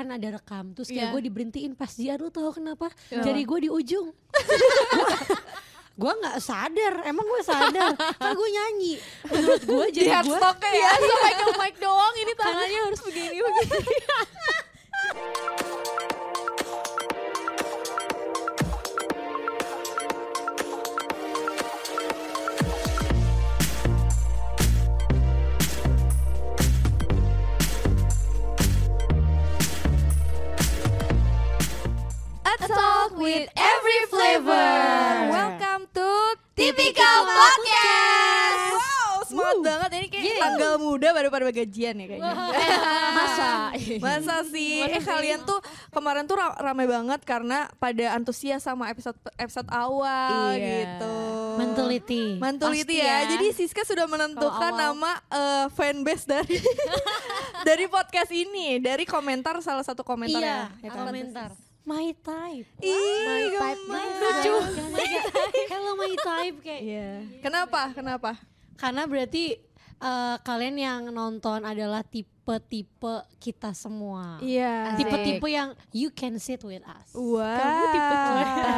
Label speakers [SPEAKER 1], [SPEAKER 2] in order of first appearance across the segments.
[SPEAKER 1] kan ada rekam terus
[SPEAKER 2] Iya.
[SPEAKER 1] kayak gue diberhentiin pas jiar lu tau kenapa
[SPEAKER 2] Kenapa?
[SPEAKER 1] jadi gue di ujung gue nggak sadar emang gue sadar kan gue nyanyi menurut gue
[SPEAKER 2] Di
[SPEAKER 1] jadi gue
[SPEAKER 2] headstocknya ya, cuma ke mic doang ini tangannya harus begini begini. A talk with every
[SPEAKER 1] flavor.
[SPEAKER 2] Welcome to
[SPEAKER 3] Typical Podcast.
[SPEAKER 2] Wow, semangat banget ini kayak tanggal muda baru pada gajian ya kayaknya.
[SPEAKER 1] masa
[SPEAKER 2] Masa sih? Eh kalian tuh kemarin tuh ra- ramai banget karena pada antusias sama episode episode awal
[SPEAKER 3] Iya.
[SPEAKER 2] gitu.
[SPEAKER 1] mentality
[SPEAKER 2] Mentuliti
[SPEAKER 3] Pasti
[SPEAKER 2] ya.
[SPEAKER 3] ya.
[SPEAKER 2] Jadi Siska sudah menentukan
[SPEAKER 3] Kalau awal.
[SPEAKER 2] nama eh, fanbase dari dari podcast ini dari komentar salah satu komentar
[SPEAKER 1] iya
[SPEAKER 2] ya. kan?
[SPEAKER 1] komentar my type
[SPEAKER 2] Ih,
[SPEAKER 3] My
[SPEAKER 2] gem-
[SPEAKER 3] type, my
[SPEAKER 2] lucu.
[SPEAKER 3] type.
[SPEAKER 1] Jangan aja, hello my type kayak
[SPEAKER 2] Iya. Kenapa? Kenapa?
[SPEAKER 1] Karena berarti eh, kalian yang nonton adalah tipe-tipe kita semua.
[SPEAKER 2] Iya.
[SPEAKER 1] Tipe-tipe yang you can sit with us.
[SPEAKER 2] Wow.
[SPEAKER 1] Kamu tipe kita.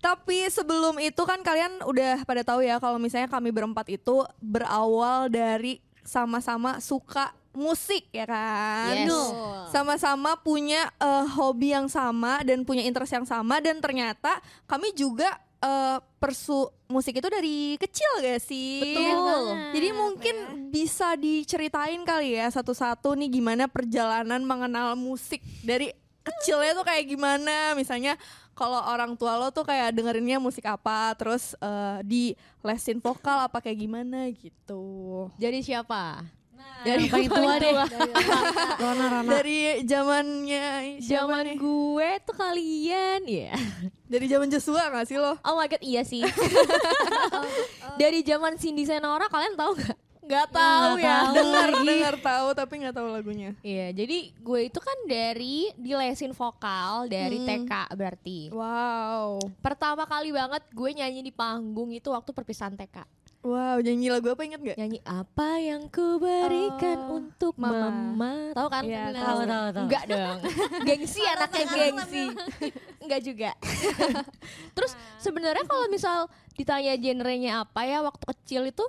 [SPEAKER 2] Tapi sebelum itu kan kalian udah pada tahu ya kalau misalnya kami berempat itu berawal dari sama-sama suka musik ya kan.
[SPEAKER 3] Yes.
[SPEAKER 1] No.
[SPEAKER 2] Sama-sama punya eh, hobi yang sama dan punya interest yang sama dan ternyata kami juga eh, persu musik itu dari kecil gak sih?
[SPEAKER 3] Betul.
[SPEAKER 2] Jadi mungkin bisa diceritain kali ya satu-satu nih gimana perjalanan mengenal musik dari kecilnya tuh kayak gimana misalnya kalau orang tua lo tuh kayak dengerinnya musik apa terus eh, di lesin vokal apa kayak gimana gitu
[SPEAKER 3] Jadi siapa?
[SPEAKER 1] Dari yang paling tua deh. Rona Rona.
[SPEAKER 2] dari zamannya siapa
[SPEAKER 3] Zaman
[SPEAKER 2] nih?
[SPEAKER 3] gue tuh kalian ya.
[SPEAKER 2] dari zaman Joshua gak sih lo
[SPEAKER 3] Oh my god, iya sih. Dari zaman Cindy Senora kalian tahu nggak? Nggak
[SPEAKER 1] tahu ya. Tahu
[SPEAKER 2] Iya, dengar
[SPEAKER 1] lagi.
[SPEAKER 2] dengar tahu tapi nggak tahu lagunya
[SPEAKER 3] Iya, jadi gue itu kan dari dilesin vokal dari
[SPEAKER 2] Hmm.
[SPEAKER 3] TK berarti.
[SPEAKER 2] wow
[SPEAKER 3] Pertama kali banget gue nyanyi di panggung itu waktu perpisahan TK.
[SPEAKER 2] wow nyanyi lagu apa inget gak
[SPEAKER 3] Nyanyi apa yang ku berikan
[SPEAKER 2] Oh,
[SPEAKER 3] untuk
[SPEAKER 2] Mama.
[SPEAKER 3] mama. Tahu kan?
[SPEAKER 2] Iya,
[SPEAKER 3] Bener.
[SPEAKER 1] tahu, tahu, tahu.
[SPEAKER 3] Enggak dong. Gengsi anaknya gengsi. Enggak juga. Terus
[SPEAKER 2] Nah.
[SPEAKER 3] sebenarnya kalau misal ditanya genrenya apa ya waktu kecil itu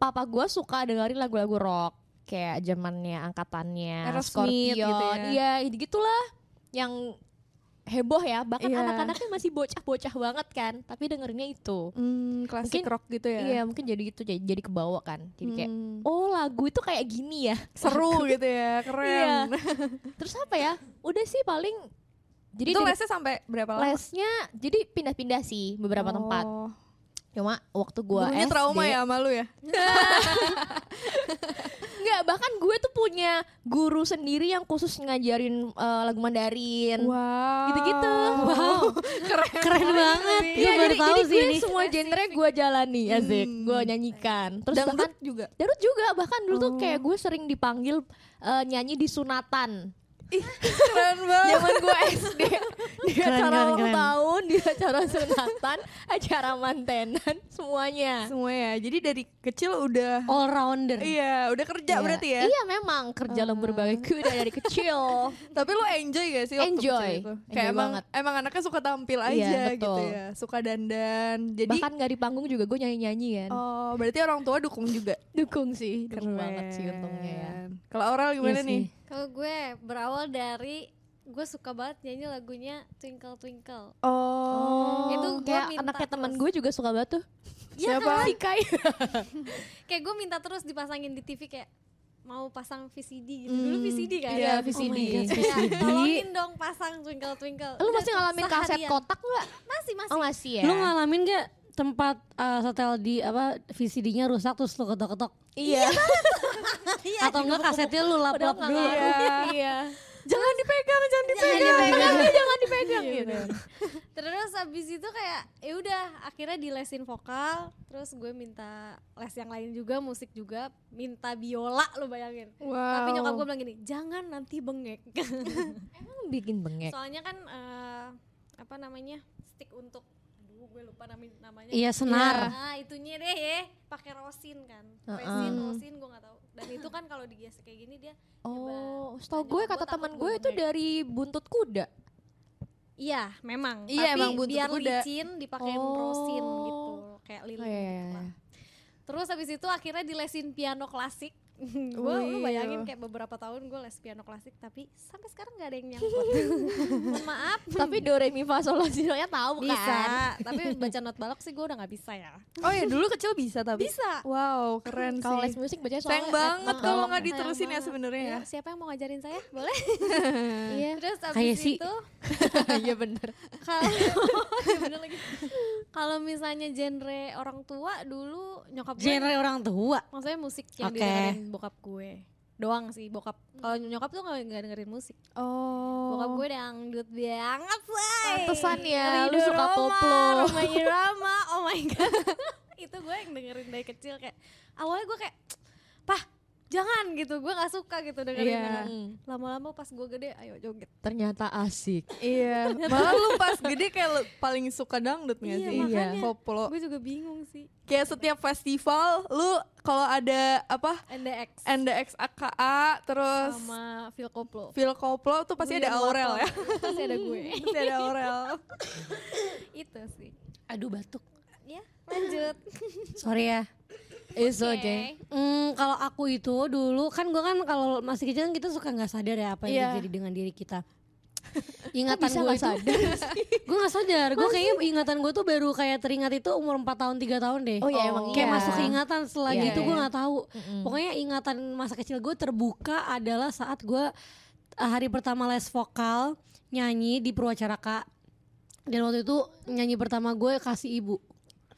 [SPEAKER 3] papa gua suka dengerin lagu-lagu rock kayak zamannya angkatannya
[SPEAKER 2] Aerosmith gitu
[SPEAKER 3] Scorpion. Iya, gitulah yang heboh ya. Bahkan
[SPEAKER 2] Iya.
[SPEAKER 3] anak-anaknya masih bocah-bocah banget kan, tapi dengerinnya itu.
[SPEAKER 2] hmm, klasik
[SPEAKER 3] Mungkin-
[SPEAKER 2] rock gitu ya
[SPEAKER 3] Iya, mungkin jadi gitu jadi, jadi kebawa kan. Jadi kayak
[SPEAKER 2] Hmm.
[SPEAKER 3] oh lagu itu kayak gini ya
[SPEAKER 2] seru gitu ya keren
[SPEAKER 3] Iya. terus apa ya udah sih paling jadi
[SPEAKER 2] itu
[SPEAKER 3] dari-
[SPEAKER 2] lesnya sampai berapa lama
[SPEAKER 3] lesnya jadi pindah-pindah sih beberapa tempat
[SPEAKER 2] Oh.
[SPEAKER 3] cuma waktu gua Hmm.
[SPEAKER 2] Gurunya
[SPEAKER 3] SD
[SPEAKER 2] trauma ya sama lu ya
[SPEAKER 3] nggak bahkan gue tuh punya guru sendiri yang khusus ngajarin eh, lagu Mandarin
[SPEAKER 2] wow
[SPEAKER 3] gitu-gitu
[SPEAKER 1] Wow,
[SPEAKER 2] keren
[SPEAKER 1] keren banget. Gue
[SPEAKER 3] Iya,
[SPEAKER 1] baru
[SPEAKER 3] jadi,
[SPEAKER 1] tahu
[SPEAKER 3] jadi
[SPEAKER 1] sih
[SPEAKER 3] gue
[SPEAKER 1] ini.
[SPEAKER 3] semua genre gue jalani ya
[SPEAKER 2] Hmm.
[SPEAKER 3] gue nyanyikan terus bahkan
[SPEAKER 2] dangdut juga
[SPEAKER 3] Darut juga bahkan dulu tuh
[SPEAKER 2] Oh.
[SPEAKER 3] kayak gue sering dipanggil eh, nyanyi di sunatan
[SPEAKER 2] keren banget
[SPEAKER 3] zaman gue SD di
[SPEAKER 1] Keren,
[SPEAKER 3] acara
[SPEAKER 1] keren,
[SPEAKER 3] ulang
[SPEAKER 1] keren.
[SPEAKER 3] tahun di acara sunatan acara mantenan semuanya
[SPEAKER 2] semua ya jadi dari kecil udah
[SPEAKER 1] All rounder.
[SPEAKER 2] iya udah kerja
[SPEAKER 3] Iya.
[SPEAKER 2] berarti ya Hmm.
[SPEAKER 3] iya memang kerja lembur bagai kuda dari kecil
[SPEAKER 2] tapi lu enjoy gak sih waktu
[SPEAKER 3] Enjoy.
[SPEAKER 2] kecil itu kayak
[SPEAKER 3] Enjoy
[SPEAKER 2] emang
[SPEAKER 3] banget.
[SPEAKER 2] emang anaknya suka tampil aja
[SPEAKER 3] Iya,
[SPEAKER 2] gitu
[SPEAKER 3] betul.
[SPEAKER 2] ya suka dandan jadi
[SPEAKER 3] bahkan nggak di panggung juga gue nyanyi nyanyi kan
[SPEAKER 2] oh berarti orang tua dukung juga
[SPEAKER 3] dukung sih dukung banget sih untungnya ya
[SPEAKER 2] Keren. kalau oral gimana
[SPEAKER 3] Iya
[SPEAKER 2] nih
[SPEAKER 3] sih.
[SPEAKER 4] Kalau gue berawal dari gue suka banget nyanyi lagunya Twinkle Twinkle.
[SPEAKER 2] oh
[SPEAKER 4] Itu gua
[SPEAKER 3] kayak
[SPEAKER 4] minta
[SPEAKER 3] anaknya teman
[SPEAKER 4] terus.
[SPEAKER 3] gue juga suka banget tuh
[SPEAKER 2] siapa
[SPEAKER 3] si Kai
[SPEAKER 4] Kayak gue minta terus dipasangin di TV kayak mau pasang VCD gitu. Dulu
[SPEAKER 2] Hmm,
[SPEAKER 4] VCD kan.
[SPEAKER 2] iya,
[SPEAKER 1] Oh my
[SPEAKER 4] Kayak,
[SPEAKER 3] VCD.
[SPEAKER 1] God, VCD.
[SPEAKER 4] Nah, Tolongin dong pasang Twinkle Twinkle.
[SPEAKER 3] lu
[SPEAKER 4] Udah
[SPEAKER 3] masih ngalamin
[SPEAKER 4] seharian.
[SPEAKER 3] kaset kotak nggak
[SPEAKER 4] Masih masih.
[SPEAKER 3] oh masih ya
[SPEAKER 1] Lu ngalamin gak tempat eh, setel di apa VCD-nya rusak terus lu ketok-ketok
[SPEAKER 3] iya
[SPEAKER 1] atau enggak kasetnya lu
[SPEAKER 3] udah
[SPEAKER 1] lap-lap dulu.
[SPEAKER 3] ngalamin iya
[SPEAKER 2] jangan dipegang jangan dipegang
[SPEAKER 3] jangan dipegang jangan dipegang gitu
[SPEAKER 4] Terus habis itu kayak ya udah akhirnya dilesin vokal, terus gue minta les yang lain juga musik juga, minta biola lu bayangin. Tapi nyokap gue bilang gini, "Jangan nanti bengek."
[SPEAKER 3] bikin bengek
[SPEAKER 4] Soalnya kan eh, apa namanya stick untuk aduh aduh gue lupa nami- namanya
[SPEAKER 1] Iya senar.
[SPEAKER 4] Nah, itunya deh ya, pakai rosin kan. Resin, rosin gue gak tahu. Dan itu kan kalau digesek kayak gini dia
[SPEAKER 3] Oh, setahu
[SPEAKER 4] Nah,
[SPEAKER 3] gue kata
[SPEAKER 4] nyokap gua takut
[SPEAKER 3] teman
[SPEAKER 4] gua
[SPEAKER 3] gue itu
[SPEAKER 4] gede.
[SPEAKER 3] dari buntut kuda.
[SPEAKER 4] Iya, memang.
[SPEAKER 2] Iya,
[SPEAKER 4] Tapi
[SPEAKER 2] emang buntut
[SPEAKER 4] biar
[SPEAKER 2] kuda.
[SPEAKER 4] licin dipakein
[SPEAKER 3] Oh.
[SPEAKER 4] rosin gitu, kayak lilin
[SPEAKER 3] Oh, iya, iya,
[SPEAKER 4] gitu lah.
[SPEAKER 3] iya.
[SPEAKER 4] Terus habis itu akhirnya dilesin piano klasik. gue
[SPEAKER 2] Wih.
[SPEAKER 4] lu bayangin kayak beberapa tahun gue les piano klasik tapi sampai sekarang nggak ada yang nyangkut. Mohon maaf.
[SPEAKER 3] Tapi do re mi fa sol la si do nya tahu
[SPEAKER 4] Bisa,
[SPEAKER 3] kan?
[SPEAKER 4] tapi baca not balok sih gue udah nggak bisa ya.
[SPEAKER 2] Oh ya dulu kecil bisa tapi.
[SPEAKER 4] Bisa.
[SPEAKER 2] Wow keren
[SPEAKER 3] Kalau
[SPEAKER 2] sih.
[SPEAKER 3] les musik bacanya
[SPEAKER 2] Sayang
[SPEAKER 3] soalnya
[SPEAKER 2] banget
[SPEAKER 3] not
[SPEAKER 2] kalau nggak
[SPEAKER 3] balok.
[SPEAKER 4] Sayang
[SPEAKER 2] diterusin ya
[SPEAKER 4] banget.
[SPEAKER 2] sebenarnya ya.
[SPEAKER 4] Ayo, siapa yang mau ngajarin saya? Boleh.
[SPEAKER 3] Iya.
[SPEAKER 4] Terus
[SPEAKER 1] Kayak
[SPEAKER 4] abis
[SPEAKER 1] sih.
[SPEAKER 4] itu
[SPEAKER 3] Iya bener.
[SPEAKER 4] kalau Iya, bener lagi. kalau misalnya genre orang tua dulu nyokap gue
[SPEAKER 3] Iya.
[SPEAKER 1] Genre orang tua.
[SPEAKER 4] maksudnya musik yang
[SPEAKER 1] Oke.
[SPEAKER 4] didengerin bokap gue doang sih bokap kalau nyokap tuh nggak nggak dengerin musik
[SPEAKER 2] Oh.
[SPEAKER 4] bokap gue dangdut banget say
[SPEAKER 3] Pantesan ya, lu
[SPEAKER 4] Ridho
[SPEAKER 3] suka
[SPEAKER 4] Roma,
[SPEAKER 3] koplo.
[SPEAKER 4] Rhoma Irama oh my god itu gue yang dengerin dari kecil kayak awalnya gue kayak pah jangan gitu gue nggak suka gitu dengerin
[SPEAKER 2] Iya.
[SPEAKER 4] mereka.
[SPEAKER 3] Mm.
[SPEAKER 4] lama-lama pas gue gede ayo joget
[SPEAKER 3] Ternyata asik.
[SPEAKER 2] Iya. Malah lu pas gede kayak lu paling suka dangdut nggak
[SPEAKER 4] Iya,
[SPEAKER 2] sih?
[SPEAKER 4] makanya.
[SPEAKER 2] Koplo.
[SPEAKER 4] gue juga bingung sih
[SPEAKER 2] Kayak setiap festival lu kalau ada apa
[SPEAKER 4] NDX
[SPEAKER 2] NDX AKA terus
[SPEAKER 4] sama Phil Koplo
[SPEAKER 2] Phil Koplo tuh pasti ada
[SPEAKER 4] William
[SPEAKER 2] Aurel ya.
[SPEAKER 4] Wharton. pasti ada gue
[SPEAKER 2] pasti ada Aurel.
[SPEAKER 4] itu sih
[SPEAKER 1] Aduh batuk.
[SPEAKER 4] ya lanjut
[SPEAKER 1] Sorry ya.
[SPEAKER 3] It's
[SPEAKER 4] Oke.
[SPEAKER 3] okay.
[SPEAKER 1] Hmm, kalau aku itu dulu kan gue kan kalau masih kecil kan kita suka nggak sadar ya apa yang
[SPEAKER 2] Iya.
[SPEAKER 1] terjadi dengan diri kita. Ingatan
[SPEAKER 3] bisa
[SPEAKER 1] gue
[SPEAKER 3] nggak
[SPEAKER 1] itu, gue nggak sadar. Gue kayaknya ingatan gue tuh baru kayak teringat itu umur 4 tahun 3 tahun deh.
[SPEAKER 3] Oh ya
[SPEAKER 2] Oh.
[SPEAKER 3] emang
[SPEAKER 1] Kayak
[SPEAKER 3] iya.
[SPEAKER 1] masuk ke ingatan setelah
[SPEAKER 3] Iya,
[SPEAKER 1] gitu gue
[SPEAKER 3] iya.
[SPEAKER 1] nggak tahu. Pokoknya ingatan masa kecil gue terbuka adalah saat gue eh, hari pertama les vokal nyanyi di Purwacaraka. Dan waktu itu nyanyi pertama gue kasih ibu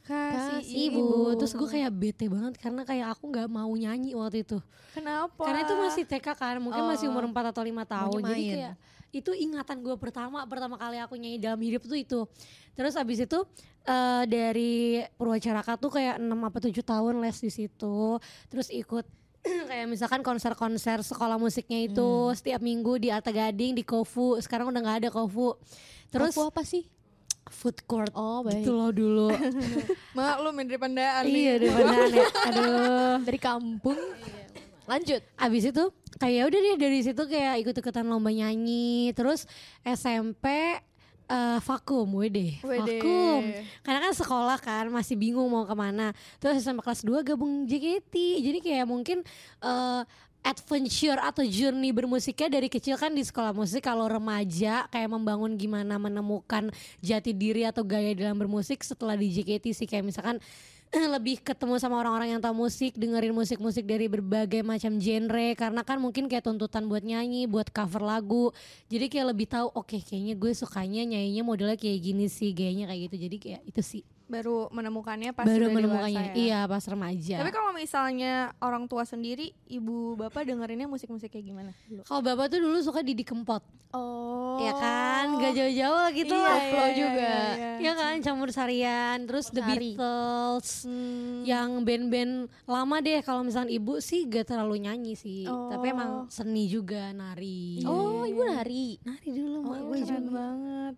[SPEAKER 2] Kasih
[SPEAKER 1] ibu. Terus gue kayak bete banget karena kayak aku nggak mau nyanyi waktu itu.
[SPEAKER 2] Kenapa?
[SPEAKER 1] Karena itu masih TK kan, mungkin masih umur 4 atau 5 tahun. Jadi
[SPEAKER 3] main.
[SPEAKER 1] kayak itu ingatan gue pertama pertama kali aku nyanyi dalam hidup tuh itu. Terus abis itu eh, dari Purwacaraka tuh kayak 6 apa 7 tahun les di situ. Terus ikut kayak misalkan konser-konser sekolah musiknya itu setiap minggu di Atta Gading, di Kofu. Sekarang udah nggak ada Kofu. Terus
[SPEAKER 3] Aku apa sih?
[SPEAKER 1] food court
[SPEAKER 3] Oh baik.
[SPEAKER 1] gitu loh dulu.
[SPEAKER 2] Mak lu main dari pandaan
[SPEAKER 1] iya,
[SPEAKER 2] nih.
[SPEAKER 1] daripada aneh. Aduh.
[SPEAKER 3] Dari kampung. Lanjut.
[SPEAKER 1] Abis itu kayak ya udah deh dari situ kayak ikut-ikutan lomba nyanyi terus SMP eh, vakum wede
[SPEAKER 2] Wede.
[SPEAKER 1] vakum karena kan sekolah kan masih bingung mau kemana terus SMP kelas 2 gabung JKT jadi kayak mungkin eh, adventure atau journey bermusiknya dari kecil kan di sekolah musik kalau remaja kayak membangun gimana menemukan jati diri atau gaya dalam bermusik setelah di JKT sih kayak misalkan lebih ketemu sama orang-orang yang tahu musik, dengerin musik-musik dari berbagai macam genre karena kan mungkin kayak tuntutan buat nyanyi, buat cover lagu. Jadi kayak lebih tahu oke kayaknya gue sukanya nyanyinya modelnya kayak gini sih, gayanya kayak gitu. Jadi kayak itu sih
[SPEAKER 2] Baru menemukannya pas
[SPEAKER 1] baru
[SPEAKER 2] udah
[SPEAKER 1] menemukannya.
[SPEAKER 2] dewasa ya.
[SPEAKER 1] Iya, pas remaja.
[SPEAKER 2] Tapi kalau misalnya orang tua sendiri, ibu bapak dengerinnya musik-musik kayak gimana?
[SPEAKER 1] kalau bapak tuh dulu suka Didi Kempot.
[SPEAKER 2] Oh.
[SPEAKER 1] Ya kan, gak jauh-jauh lah gitu
[SPEAKER 2] Iya,
[SPEAKER 1] lah.
[SPEAKER 2] iya, iya,
[SPEAKER 1] juga.
[SPEAKER 2] iya.
[SPEAKER 1] Ya kan, campur sarian, terus The
[SPEAKER 3] Campur sari.
[SPEAKER 1] Beatles.
[SPEAKER 2] Hmm,
[SPEAKER 1] Yang band-band lama deh kalau misalnya ibu sih gak terlalu nyanyi sih,
[SPEAKER 2] Oh.
[SPEAKER 1] tapi emang seni juga nari.
[SPEAKER 3] Oh ibu nari.
[SPEAKER 1] nari dulu
[SPEAKER 2] Oh,
[SPEAKER 1] mak gue
[SPEAKER 2] keren
[SPEAKER 1] juga.
[SPEAKER 2] banget.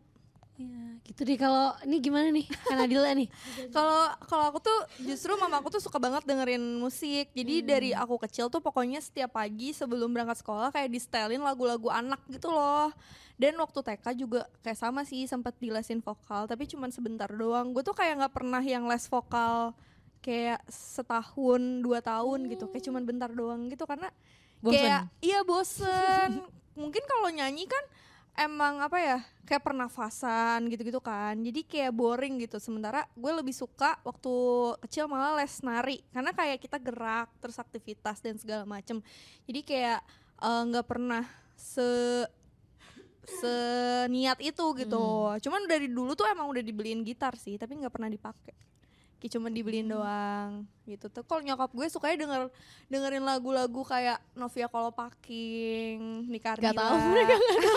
[SPEAKER 1] Iya, gitu deh kalau ini gimana nih? Kan Adila nih.
[SPEAKER 2] Kalau kalau aku tuh justru mama aku tuh suka banget dengerin musik. Jadi dari aku kecil tuh pokoknya setiap pagi sebelum berangkat sekolah kayak distelin lagu-lagu anak gitu loh. Dan waktu TK juga kayak sama sih sempat dilesin vokal, tapi cuman sebentar doang. Gue tuh kayak nggak pernah yang les vokal kayak setahun dua tahun gitu kayak cuman bentar doang gitu karena
[SPEAKER 1] Bosen.
[SPEAKER 2] kayak iya bosen mungkin kalau nyanyi kan emang apa ya kayak pernafasan gitu-gitu kan jadi kayak boring gitu sementara gue lebih suka waktu kecil malah les nari karena kayak kita gerak terus aktivitas dan segala macem jadi kayak eh, nggak pernah se seniat itu gitu
[SPEAKER 3] Hmm.
[SPEAKER 2] cuman dari dulu tuh emang udah dibeliin gitar sih tapi nggak pernah dipakai kayak cuman dibeliin
[SPEAKER 3] Hmm.
[SPEAKER 2] doang gitu tuh kalau nyokap gue sukanya denger dengerin lagu-lagu kayak Novia Kolopaking, Nika
[SPEAKER 3] Gak tahu,
[SPEAKER 2] Ardila.
[SPEAKER 3] mereka
[SPEAKER 1] Iya,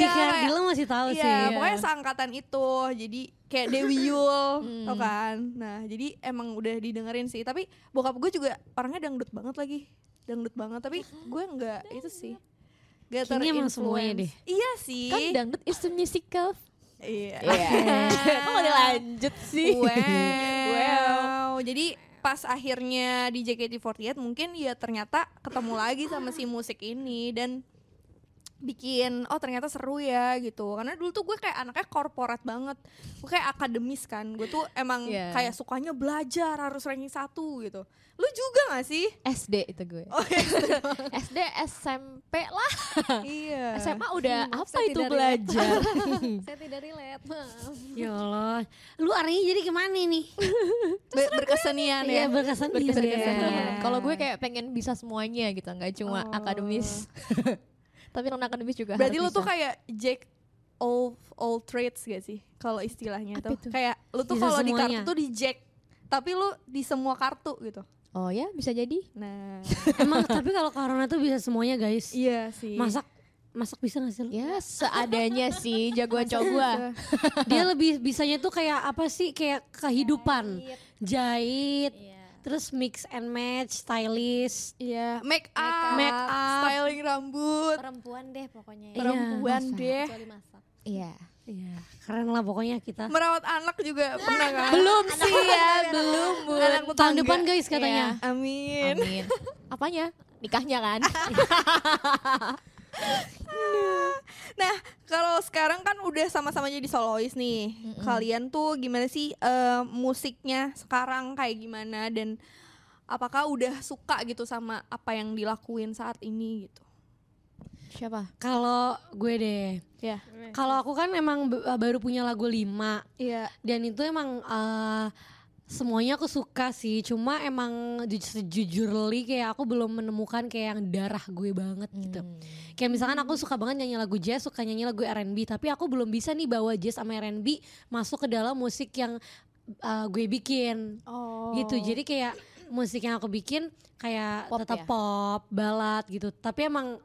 [SPEAKER 2] Iya,
[SPEAKER 1] kayak
[SPEAKER 2] kayak-
[SPEAKER 1] Adila masih tahu
[SPEAKER 2] Iya,
[SPEAKER 1] sih. ya.
[SPEAKER 2] pokoknya seangkatan itu. Jadi kayak Dewi Yul,
[SPEAKER 1] Hmm.
[SPEAKER 2] tau kan? Nah, jadi emang udah didengerin sih. Tapi bokap gue juga orangnya dangdut banget lagi. Dangdut banget, tapi gue nggak itu sih. Gak
[SPEAKER 1] Kayaknya emang semuanya Kan
[SPEAKER 2] terinfluence. Iya sih.
[SPEAKER 3] Kan dangdut is a musical
[SPEAKER 2] Iya.
[SPEAKER 3] Kok udah lanjut sih?
[SPEAKER 2] Wow. Jadi pas akhirnya di JKT48 mungkin ya ternyata ketemu lagi sama si musik ini dan bikin oh ternyata seru ya gitu karena dulu tuh gue kayak anaknya korporat banget gue kayak akademis kan gue tuh emang
[SPEAKER 3] Iya.
[SPEAKER 2] kayak sukanya belajar harus ranking satu gitu lu juga gak sih
[SPEAKER 3] SD itu gue.
[SPEAKER 2] oh
[SPEAKER 3] SD, SMP lah.
[SPEAKER 2] iya
[SPEAKER 3] SMA udah
[SPEAKER 4] Hmm,
[SPEAKER 3] apa itu Iya.
[SPEAKER 4] saya tidak relate.
[SPEAKER 3] belajar?
[SPEAKER 2] Hmm.
[SPEAKER 4] Saya tidak relate, maaf.
[SPEAKER 1] Ya Allah, lu artinya jadi kemana nih?
[SPEAKER 2] Be- berkesenian
[SPEAKER 1] Iya
[SPEAKER 2] ya
[SPEAKER 1] berkesan
[SPEAKER 3] Berkesan-
[SPEAKER 1] diri.
[SPEAKER 3] berkesenian.
[SPEAKER 2] Iya.
[SPEAKER 3] Kalau gue kayak pengen bisa semuanya gitu, nggak cuma
[SPEAKER 2] Oh.
[SPEAKER 3] akademis. Tapi non akademis juga
[SPEAKER 2] Berarti lu
[SPEAKER 3] harus
[SPEAKER 2] tuh kan- kayak
[SPEAKER 3] bisa.
[SPEAKER 2] Jack all all trades gak sih? Kalau istilahnya
[SPEAKER 3] Apa
[SPEAKER 2] tuh.
[SPEAKER 3] itu?
[SPEAKER 2] Kayak lu tuh
[SPEAKER 1] Bisa
[SPEAKER 2] kalau di kartu
[SPEAKER 1] semuanya.
[SPEAKER 2] tuh di Jack, tapi lu di semua kartu gitu.
[SPEAKER 3] Oh ya, bisa jadi.
[SPEAKER 2] Nah,
[SPEAKER 1] Emang tapi kalau corona tuh bisa semuanya guys.
[SPEAKER 2] iya sih.
[SPEAKER 1] Masak masak bisa gak sih lu?
[SPEAKER 3] Ya, seadanya sih jagoan cowok gue.
[SPEAKER 1] Dia lebih bisanya tuh kayak apa sih? Kayak kehidupan. Jahit,
[SPEAKER 4] Iya.
[SPEAKER 1] terus mix and match, stylish.
[SPEAKER 2] Iya, make up,
[SPEAKER 1] Make up.
[SPEAKER 2] styling rambut,
[SPEAKER 4] Perempuan deh pokoknya ya.
[SPEAKER 1] Iya,
[SPEAKER 2] perempuan
[SPEAKER 3] masa.
[SPEAKER 2] deh.
[SPEAKER 4] Kecuali masak.
[SPEAKER 3] Iya.
[SPEAKER 1] Iya, keren lah pokoknya kita.
[SPEAKER 2] Merawat anak juga pernah kan?
[SPEAKER 3] Belum sih ya, belum. Bun.
[SPEAKER 2] Anak
[SPEAKER 1] Tahun
[SPEAKER 2] tetangga.
[SPEAKER 1] depan guys katanya.
[SPEAKER 2] Amin.
[SPEAKER 3] Amin. Apanya? Nikahnya kan?
[SPEAKER 2] Nah, kalau sekarang kan udah sama-sama jadi solois nih. Kalian tuh gimana sih eh, musiknya sekarang kayak gimana dan apakah udah suka gitu sama apa yang dilakuin saat ini gitu?
[SPEAKER 3] Siapa?
[SPEAKER 1] Kalau gue deh,
[SPEAKER 2] Ya.
[SPEAKER 1] kalau aku kan emang b- baru punya lagu 5
[SPEAKER 2] Iya.
[SPEAKER 1] dan itu emang eh, semuanya aku suka sih cuma emang ju- sejujurly kayak aku belum menemukan kayak yang darah gue banget gitu
[SPEAKER 3] Hmm.
[SPEAKER 1] kayak misalkan aku suka banget nyanyi lagu jazz suka nyanyi lagu R&B tapi aku belum bisa nih bawa jazz sama R&B masuk ke dalam musik yang eh, gue bikin
[SPEAKER 2] Oh.
[SPEAKER 1] gitu jadi kayak musik yang aku bikin kayak
[SPEAKER 3] Pop
[SPEAKER 1] tetap
[SPEAKER 3] ya?
[SPEAKER 1] pop balad gitu tapi emang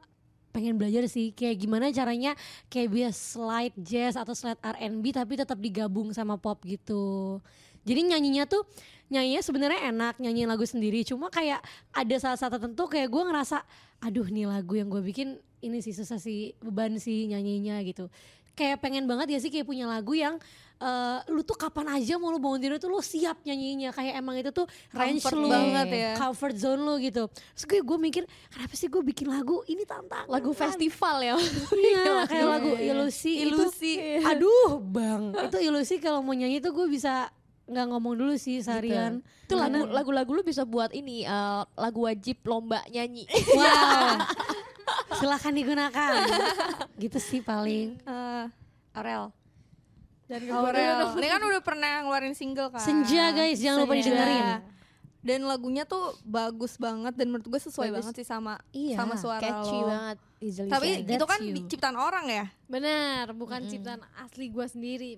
[SPEAKER 1] pengen belajar sih kayak gimana caranya kayak biar slide jazz atau slide R&B tapi tetap digabung sama pop gitu jadi nyanyinya tuh nyanyinya sebenarnya enak nyanyiin lagu sendiri cuma kayak ada saat-saat tertentu kayak gue ngerasa aduh nih lagu yang gue bikin ini sih susah sih beban sih nyanyinya gitu kayak pengen banget ya sih kayak punya lagu yang eh, lu tuh kapan aja mau lu bangun tidur tuh lu siap nyanyinya kayak emang itu tuh range
[SPEAKER 2] Comfort
[SPEAKER 1] lu
[SPEAKER 2] banget ya.
[SPEAKER 1] comfort zone lu gitu terus gue gue mikir kenapa sih gue bikin lagu ini tantangan
[SPEAKER 3] Lagu festival ya.
[SPEAKER 1] Iya, kayak lagu
[SPEAKER 2] Iya.
[SPEAKER 1] ilusi,
[SPEAKER 2] Ilusi.
[SPEAKER 1] itu aduh bang itu ilusi kalau mau nyanyi tuh gue bisa nggak ngomong dulu sih seharian
[SPEAKER 3] Gitu. Itu lagu
[SPEAKER 1] Karena-
[SPEAKER 3] lagu-lagu lu bisa buat ini eh, lagu wajib lomba nyanyi.
[SPEAKER 1] wow silahkan digunakan gitu sih paling Aurel
[SPEAKER 2] dan Eh, Aurel. Ini kan udah pernah ngeluarin single kan?
[SPEAKER 1] Senja guys jangan lupa
[SPEAKER 2] Senja.
[SPEAKER 1] didengerin
[SPEAKER 2] Dan lagunya tuh bagus banget dan menurut gue sesuai
[SPEAKER 3] Bagus.
[SPEAKER 2] banget sih sama
[SPEAKER 1] Iya,
[SPEAKER 2] sama suara
[SPEAKER 3] Catchy
[SPEAKER 2] lo.
[SPEAKER 3] banget. Iya, gitu. Easily
[SPEAKER 2] Tapi
[SPEAKER 3] shared.
[SPEAKER 1] That's
[SPEAKER 2] itu kan
[SPEAKER 1] you.
[SPEAKER 2] di- ciptaan orang ya?
[SPEAKER 4] Benar, bukan ciptaan asli gue sendiri.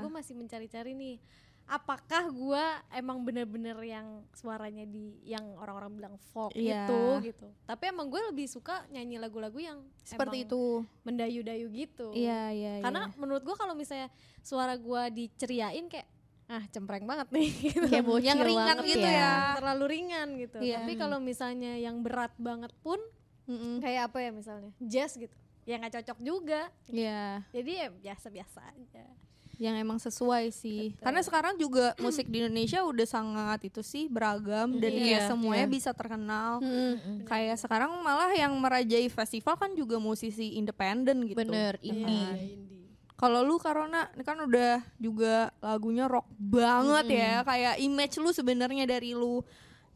[SPEAKER 2] Nah.
[SPEAKER 4] gue masih mencari-cari nih. Apakah gue emang bener-bener yang suaranya di yang orang-orang bilang folk
[SPEAKER 2] Iya.
[SPEAKER 4] gitu gitu. Tapi emang gue lebih suka nyanyi lagu-lagu yang
[SPEAKER 2] Seperti
[SPEAKER 4] emang
[SPEAKER 2] itu.
[SPEAKER 4] mendayu-dayu gitu.
[SPEAKER 2] iya,
[SPEAKER 4] Karena menurut gue kalau misalnya suara gue diceriain kayak ah cempreng banget nih gitu.
[SPEAKER 3] kayak bocil
[SPEAKER 2] yang ringan
[SPEAKER 3] banget
[SPEAKER 2] gitu ya.
[SPEAKER 4] terlalu ringan gitu.
[SPEAKER 2] Iya.
[SPEAKER 4] Tapi kalau misalnya yang berat banget pun
[SPEAKER 2] Mm-mm.
[SPEAKER 4] kayak apa ya misalnya jazz gitu. Ya nggak cocok juga.
[SPEAKER 2] Iya,
[SPEAKER 4] Jadi ya biasa-biasa aja.
[SPEAKER 2] yang emang sesuai sih. Karena sekarang juga musik di Indonesia udah sangat itu sih beragam dan
[SPEAKER 1] Iya,
[SPEAKER 2] kayak semuanya bisa terkenal.
[SPEAKER 1] Mm-mm.
[SPEAKER 2] Kayak sekarang malah yang merajai festival kan juga musisi independen gitu.
[SPEAKER 3] Bener, indie.
[SPEAKER 2] Kalau lu Karona ini kan udah juga lagunya rock banget ya. Kayak image lu sebenarnya dari lu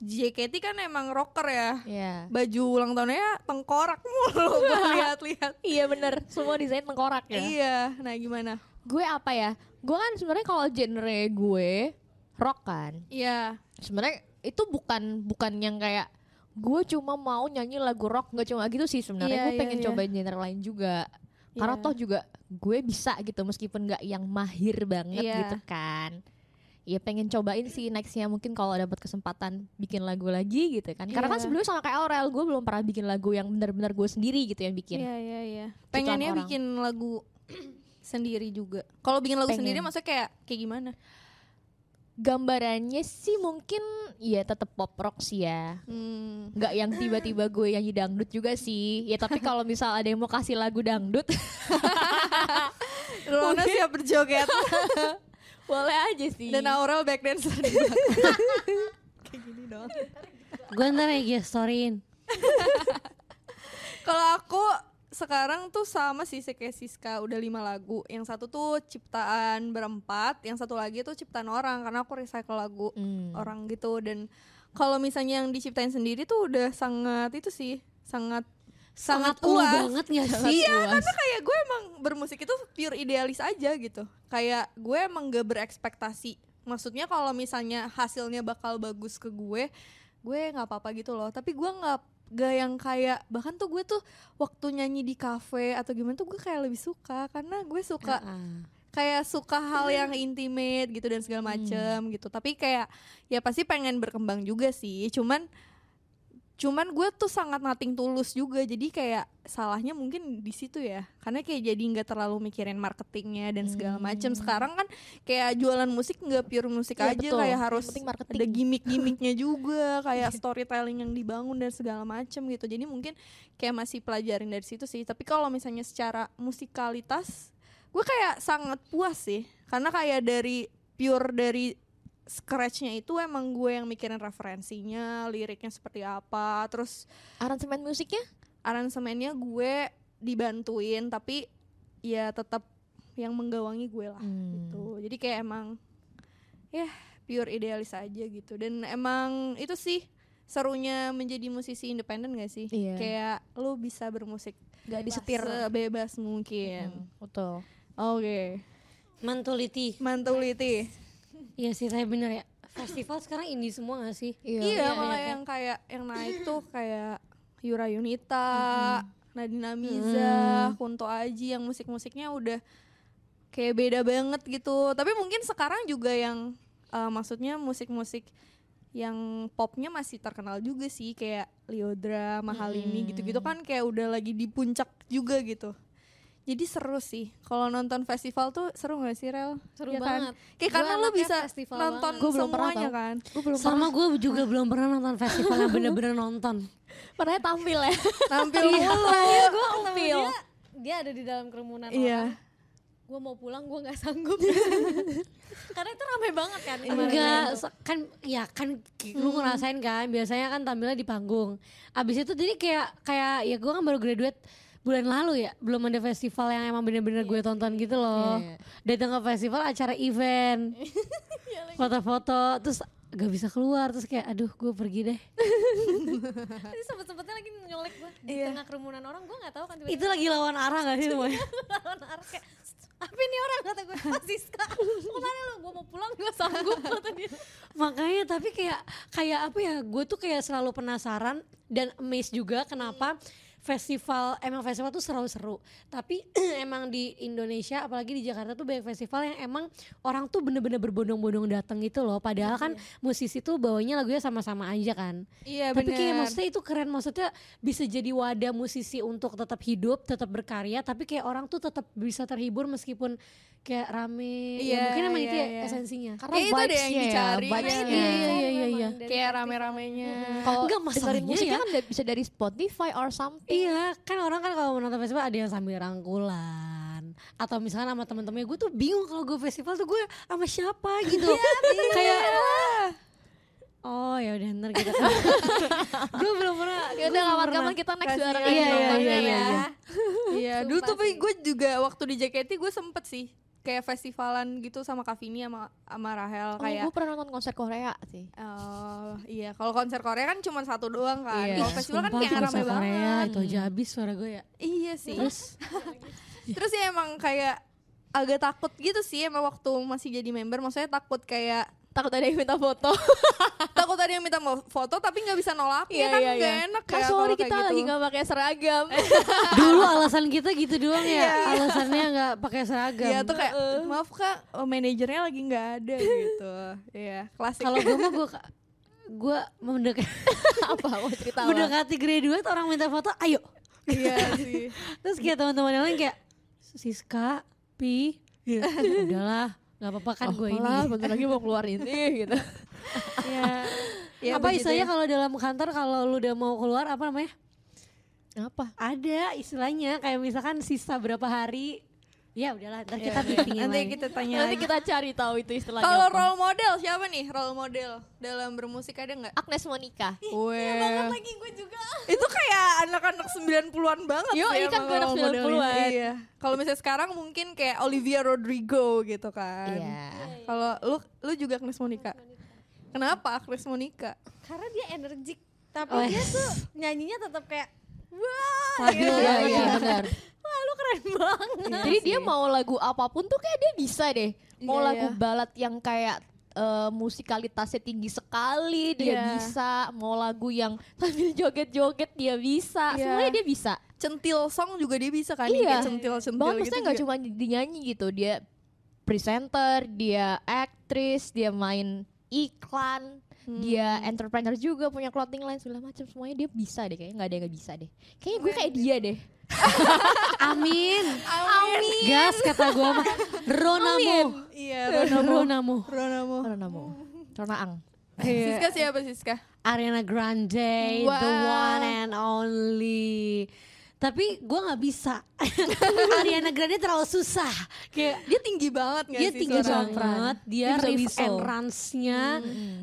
[SPEAKER 2] JKT kan emang rocker ya.
[SPEAKER 3] Iya.
[SPEAKER 2] Baju ulang tahunnya tengkorak mulu gue lihat-lihat.
[SPEAKER 3] Iya bener, semua desain tengkorak ya.
[SPEAKER 2] Iya, nah gimana?
[SPEAKER 3] Gue apa ya? Gue kan sebenarnya kalau genre gue rock kan.
[SPEAKER 2] Iya.
[SPEAKER 3] Sebenarnya itu bukan bukan yang kayak gue cuma mau nyanyi lagu rock nggak cuma gitu sih sebenarnya.
[SPEAKER 2] Iya,
[SPEAKER 3] gue
[SPEAKER 2] iya,
[SPEAKER 3] pengen
[SPEAKER 2] iya.
[SPEAKER 3] coba genre lain juga. Karena
[SPEAKER 2] Iya.
[SPEAKER 3] toh juga gue bisa gitu meskipun nggak yang mahir banget
[SPEAKER 2] Iya.
[SPEAKER 3] gitu kan. Ya pengen cobain sih nextnya mungkin kalau dapat kesempatan bikin lagu lagi gitu kan. Karena kan
[SPEAKER 2] Iya.
[SPEAKER 3] sebelumnya sama kayak Aurel gue belum pernah bikin lagu yang benar-benar gue sendiri gitu yang bikin.
[SPEAKER 2] Iya iya iya. Pengennya
[SPEAKER 3] kan orang.
[SPEAKER 2] bikin lagu sendiri juga. Kalau bikin lagu
[SPEAKER 3] Pengen.
[SPEAKER 2] sendiri maksudnya kayak kayak gimana?
[SPEAKER 3] gambarannya sih mungkin ya tetap pop rock sih ya
[SPEAKER 2] Hmm.
[SPEAKER 3] nggak yang tiba-tiba gue nyanyi dangdut juga sih ya tapi kalau misal ada yang mau kasih lagu dangdut
[SPEAKER 2] Rona siap berjoget
[SPEAKER 3] Boleh aja sih.
[SPEAKER 2] dan Aurel back dancer di belakang. Kayak gini dong.
[SPEAKER 1] Gue ntar ya guys, storyin.
[SPEAKER 2] Kalau aku sekarang tuh sama sih kayak Siska udah lima lagu. Yang satu tuh ciptaan berempat, yang satu lagi tuh ciptaan orang karena aku recycle lagu
[SPEAKER 3] Hmm.
[SPEAKER 2] orang gitu dan kalau misalnya yang diciptain sendiri tuh udah sangat itu sih sangat
[SPEAKER 1] Sangat
[SPEAKER 2] sangat
[SPEAKER 1] cool
[SPEAKER 2] puas.
[SPEAKER 1] banget gak sih?
[SPEAKER 2] Iya, karena kayak gue emang bermusik itu pure idealis aja gitu. Kayak gue emang gak berekspektasi. Maksudnya kalau misalnya hasilnya bakal bagus ke gue, gue nggak apa-apa gitu loh. Tapi gue nggak gak yang kayak bahkan tuh gue tuh waktu nyanyi di kafe atau gimana tuh gue kayak lebih suka karena gue suka
[SPEAKER 1] Heeh.
[SPEAKER 2] kayak suka hal yang intimate gitu dan segala macem gitu tapi kayak ya pasti pengen berkembang juga sih cuman cuman gue tuh sangat nating tulus juga jadi kayak salahnya mungkin di situ ya karena kayak jadi nggak terlalu mikirin marketingnya dan segala macem sekarang kan kayak jualan musik nggak pure musik
[SPEAKER 3] Hmm. Iya,
[SPEAKER 2] aja
[SPEAKER 3] betul.
[SPEAKER 2] kayak
[SPEAKER 3] Yang
[SPEAKER 2] harus
[SPEAKER 3] penting marketing.
[SPEAKER 2] ada gimmick-gimmicknya juga kayak storytelling yang dibangun dan segala macem gitu jadi mungkin kayak masih pelajarin dari situ sih tapi kalau misalnya secara musikalitas gue kayak sangat puas sih karena kayak dari pure dari scratchnya itu emang gue yang mikirin referensinya liriknya seperti apa terus
[SPEAKER 3] Aransemen musiknya?
[SPEAKER 2] aransemennya gue dibantuin tapi ya tetap yang menggawangi gue lah gitu
[SPEAKER 3] Hmm.
[SPEAKER 2] jadi kayak emang ya pure idealis aja gitu dan emang itu sih serunya menjadi musisi independen gak sih
[SPEAKER 3] Iya.
[SPEAKER 2] kayak lu bisa bermusik
[SPEAKER 3] Gak disetir.
[SPEAKER 2] sebebas mungkin
[SPEAKER 3] Hmm, Betul.
[SPEAKER 2] oke
[SPEAKER 1] Mentuliti.
[SPEAKER 2] Mantuliti.
[SPEAKER 1] Iya sih, saya bener ya. Festival sekarang ini semua gak sih?
[SPEAKER 2] Iya,
[SPEAKER 1] iya,
[SPEAKER 2] malah
[SPEAKER 1] iya,
[SPEAKER 2] yang kayak yang naik tuh kayak Yura Yunita, Nadina Miza, Kunto Aji yang musik-musiknya udah kayak beda banget gitu. Tapi mungkin sekarang juga yang eh, maksudnya musik-musik yang popnya masih terkenal juga sih kayak Liodra, Mahalini gitu-gitu kan kayak udah lagi di puncak juga gitu. Jadi seru sih. Kalau nonton festival tuh seru gak sih, Rel?
[SPEAKER 4] Seru
[SPEAKER 2] Iya kan?
[SPEAKER 4] banget.
[SPEAKER 2] Kayak
[SPEAKER 4] Gua
[SPEAKER 2] karena lo
[SPEAKER 4] anaknya
[SPEAKER 2] bisa
[SPEAKER 4] festival
[SPEAKER 2] nonton
[SPEAKER 4] banget.
[SPEAKER 3] Gua belum pernah
[SPEAKER 2] semuanya
[SPEAKER 3] tau.
[SPEAKER 2] kan.
[SPEAKER 3] Gue belum
[SPEAKER 1] Sama gue juga belum pernah nonton festival yang bener-bener nonton.
[SPEAKER 3] pernah tampil ya.
[SPEAKER 2] Tampil
[SPEAKER 4] Iya.
[SPEAKER 2] mulu.
[SPEAKER 4] gue
[SPEAKER 3] Feel.
[SPEAKER 4] dia dia ada di dalam kerumunan
[SPEAKER 2] Iya.
[SPEAKER 4] orang gue mau pulang gue nggak sanggup karena itu ramai banget kan
[SPEAKER 1] Iya.
[SPEAKER 4] kemarin.
[SPEAKER 1] Enggak, so- kan ya kan ki- lu ngerasain kan biasanya kan tampilnya di panggung. Abis itu jadi kayak kayak ya gue kan baru graduate bulan lalu ya, belum ada festival yang emang bener-bener gue tonton gitu loh.
[SPEAKER 3] Iya.
[SPEAKER 1] Datang ke festival acara event. Iya Foto-foto terus gak bisa keluar terus kayak aduh gue pergi deh.
[SPEAKER 4] Jadi sempet-sempetnya lagi nyolek gue di
[SPEAKER 2] Iya.
[SPEAKER 4] tengah kerumunan orang gue nggak tahu kan tiba-tiba
[SPEAKER 1] Itu lagi lawan arah gak sih semuanya?
[SPEAKER 4] lawan arah kayak apa ini orang kata gue oh Siska "Lu kemana lu gue mau pulang nggak sanggup kata dia
[SPEAKER 1] Makanya tapi kayak kayak apa ya? Gue tuh kayak selalu penasaran dan amazed juga kenapa festival emang festival tuh seru-seru. Tapi emang di Indonesia apalagi di Jakarta tuh banyak festival yang emang orang tuh bener-bener berbondong-bondong datang gitu loh. Padahal kan musisi tuh bawanya lagunya sama-sama aja kan.
[SPEAKER 2] Iya
[SPEAKER 1] Tapi
[SPEAKER 2] bener.
[SPEAKER 1] kayak maksudnya itu keren maksudnya bisa jadi wadah musisi untuk tetap hidup, tetap berkarya tapi kayak orang tuh tetap bisa terhibur meskipun kayak rame.
[SPEAKER 2] Iya,
[SPEAKER 1] ya mungkin emang
[SPEAKER 2] iya,
[SPEAKER 1] itu ya
[SPEAKER 2] iya.
[SPEAKER 1] esensinya.
[SPEAKER 3] Karena
[SPEAKER 2] Kayak itu deh yang
[SPEAKER 3] vibes-nya ya,
[SPEAKER 2] dicari.
[SPEAKER 3] vibes-nya.
[SPEAKER 1] Iya, iya, iya, iya, iya.
[SPEAKER 4] Emang
[SPEAKER 2] kayak
[SPEAKER 4] dari festival.
[SPEAKER 2] rame-ramenya.
[SPEAKER 3] Kalau
[SPEAKER 1] Enggak,
[SPEAKER 3] dengerin
[SPEAKER 1] masalahnya
[SPEAKER 3] musiknya
[SPEAKER 1] ya.
[SPEAKER 3] kan da- bisa dari Spotify or something.
[SPEAKER 1] Iya, kan orang kan kalau menonton festival ada yang sambil rangkulan atau misalnya sama temen-temennya gue tuh bingung kalau gue festival tuh gue sama siapa gitu.
[SPEAKER 2] Iya,
[SPEAKER 1] Kayak Oh ya udah ntar
[SPEAKER 2] Iya,
[SPEAKER 1] kita gue belum pernah.
[SPEAKER 3] Ya udah kawan-kawan kita next
[SPEAKER 2] Kasih.
[SPEAKER 3] bareng aja
[SPEAKER 1] Iya, iya, iya,
[SPEAKER 3] nontonnya ya.
[SPEAKER 1] iya, iya.
[SPEAKER 2] Iya, dulu
[SPEAKER 4] Sumpah
[SPEAKER 2] tuh
[SPEAKER 4] sih.
[SPEAKER 2] gue juga waktu di JKT gue sempet sih kayak festivalan gitu sama Kavini sama sama Rahel
[SPEAKER 3] Oh,
[SPEAKER 2] kayak
[SPEAKER 3] gue pernah nonton konser Korea sih.
[SPEAKER 2] eh, iya, kalau konser Korea kan cuma satu doang kan.
[SPEAKER 3] Iya.
[SPEAKER 2] Kalau festival kan
[SPEAKER 1] Sumpah,
[SPEAKER 2] kayak
[SPEAKER 1] tuh
[SPEAKER 2] rame
[SPEAKER 1] bahasa Korea,
[SPEAKER 2] banget.
[SPEAKER 1] Itu aja habis suara gue ya.
[SPEAKER 2] Iya sih.
[SPEAKER 1] Terus
[SPEAKER 2] Terus ya emang kayak agak takut gitu sih emang waktu masih jadi member maksudnya takut kayak
[SPEAKER 3] Takut ada yang minta foto.
[SPEAKER 2] takut ada yang minta mau foto tapi nggak bisa nolak ya kan nggak enak
[SPEAKER 3] Iya, Kak,
[SPEAKER 2] ya
[SPEAKER 3] sorry
[SPEAKER 2] kalau kayak
[SPEAKER 3] kita
[SPEAKER 2] gitu.
[SPEAKER 3] lagi gak pakai seragam.
[SPEAKER 1] dulu alasan kita gitu doang ya. Alasannya nggak pakai seragam.
[SPEAKER 2] Iya tuh kayak maaf kak eh, manajernya lagi nggak ada gitu. Iya klasik.
[SPEAKER 1] Kalau gue mah gue gue mendekat
[SPEAKER 3] apa mau cerita apa?
[SPEAKER 1] mendekati graduate orang minta foto, ayo
[SPEAKER 2] iya sih.
[SPEAKER 1] Terus kayak teman-teman yang lain kayak Siska, Pi, gitu. udahlah nggak apa-apa kan gue ini.
[SPEAKER 3] Apalah, bentar lagi mau keluar ini gitu.
[SPEAKER 2] Iya. Ya,
[SPEAKER 1] apa
[SPEAKER 2] begitu
[SPEAKER 1] istilahnya
[SPEAKER 2] ya.
[SPEAKER 1] kalau dalam kantor kalau lu udah mau keluar apa namanya?
[SPEAKER 3] Apa?
[SPEAKER 1] Ada istilahnya kayak misalkan sisa berapa hari Ya udahlah, ntar kita meeting yang
[SPEAKER 5] Nanti
[SPEAKER 1] lain.
[SPEAKER 5] kita tanya
[SPEAKER 3] Nanti
[SPEAKER 5] lagi.
[SPEAKER 3] kita cari tahu itu istilahnya.
[SPEAKER 2] Kalau
[SPEAKER 3] apa.
[SPEAKER 2] role model siapa nih role model dalam bermusik ada nggak?
[SPEAKER 3] Agnes Monica.
[SPEAKER 2] Iya. Weh.
[SPEAKER 4] lagi gue juga
[SPEAKER 2] itu kayak anak-anak 90-an banget
[SPEAKER 3] Yo,
[SPEAKER 2] sih
[SPEAKER 3] iya kan
[SPEAKER 2] emang
[SPEAKER 3] gue anak
[SPEAKER 2] role modelnya.
[SPEAKER 3] 90-an.
[SPEAKER 2] Iya. Kalau misalnya sekarang mungkin kayak Olivia Rodrigo gitu kan.
[SPEAKER 3] Iya.
[SPEAKER 2] Kalau lu lu juga Agnes Monica. Kenapa Agnes Monica?
[SPEAKER 4] karena dia energik tapi
[SPEAKER 1] Oh,
[SPEAKER 4] dia
[SPEAKER 1] yes.
[SPEAKER 4] tuh nyanyinya tetap kayak
[SPEAKER 2] Iya,
[SPEAKER 4] wah
[SPEAKER 3] Iya,
[SPEAKER 1] Labil banget
[SPEAKER 4] gitu.
[SPEAKER 1] ya, benar.
[SPEAKER 4] wah lu keren banget
[SPEAKER 3] Jadi dia mau lagu apapun tuh kayak dia bisa deh. Mau
[SPEAKER 2] Iya,
[SPEAKER 3] lagu
[SPEAKER 2] iya.
[SPEAKER 3] balad yang kayak eh, musikalitasnya tinggi sekali dia
[SPEAKER 2] Iya.
[SPEAKER 3] bisa. Mau lagu yang sambil joget-joget dia bisa.
[SPEAKER 2] Iya.
[SPEAKER 3] Semuanya dia bisa.
[SPEAKER 2] Centil song juga dia bisa kan?
[SPEAKER 3] Iya.
[SPEAKER 2] Dia kayak centil-centil
[SPEAKER 3] Bahkan
[SPEAKER 2] gitu.
[SPEAKER 3] maksudnya nggak
[SPEAKER 2] juga.
[SPEAKER 3] cuma dinyanyi gitu. Dia presenter, dia aktris, dia main iklan,
[SPEAKER 2] Hmm.
[SPEAKER 3] dia entrepreneur juga punya clothing line segala macam semuanya dia bisa deh kayaknya nggak ada yang nggak bisa deh kayaknya gue kayak dia deh
[SPEAKER 1] Amin.
[SPEAKER 2] Amin.
[SPEAKER 1] Gas kata gue mah. Ronamu.
[SPEAKER 2] Iya, Ronamo.
[SPEAKER 1] Ronamu.
[SPEAKER 2] Ronamo.
[SPEAKER 3] Ronamu
[SPEAKER 2] Hmm.
[SPEAKER 3] Ronaang
[SPEAKER 1] Iya.
[SPEAKER 2] Siska siapa Siska?
[SPEAKER 1] Ariana Grande, the
[SPEAKER 2] Wow.
[SPEAKER 1] one and only. Tapi gue nggak bisa. Ariana Grande terlalu susah. Kayak
[SPEAKER 2] Dia tinggi banget nggak
[SPEAKER 1] dia
[SPEAKER 2] sih
[SPEAKER 1] tinggi
[SPEAKER 2] suaranya?
[SPEAKER 1] banget, dia
[SPEAKER 3] Dia bisa
[SPEAKER 1] riff
[SPEAKER 3] whistle.
[SPEAKER 1] and runs-nya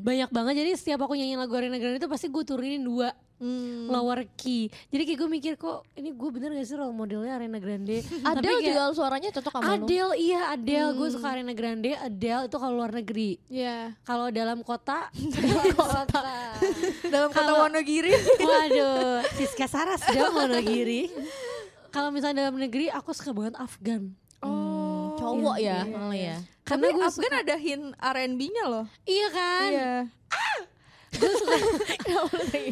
[SPEAKER 1] banyak banget. Jadi setiap aku nyanyi lagu Ariana Grande itu pasti gue turunin dua
[SPEAKER 2] Hmm.
[SPEAKER 1] lower key. Jadi kayak gue mikir kok ini gue bener gak sih role modelnya Ariana Grande? Tapi
[SPEAKER 3] Adele
[SPEAKER 1] kayak-
[SPEAKER 3] juga suaranya cocok sama lu
[SPEAKER 1] Adele iya Adele gue suka Ariana Grande Adele itu kalau luar negeri
[SPEAKER 2] Iya.
[SPEAKER 1] kalau dalam kota
[SPEAKER 2] Dalam kata
[SPEAKER 1] Kalau-
[SPEAKER 2] Wonogiri.
[SPEAKER 1] waduh Siska Saras dong Wonogiri kalau misalnya dalam negeri aku suka banget Afgan
[SPEAKER 2] Oh,
[SPEAKER 3] cowok
[SPEAKER 2] iya,
[SPEAKER 3] ya
[SPEAKER 2] iya,
[SPEAKER 3] malah
[SPEAKER 2] iya.
[SPEAKER 3] ya
[SPEAKER 1] karena
[SPEAKER 2] Tapi
[SPEAKER 1] gue
[SPEAKER 2] Afgan ada hint R&B-nya loh.
[SPEAKER 1] iya kan
[SPEAKER 2] Iya.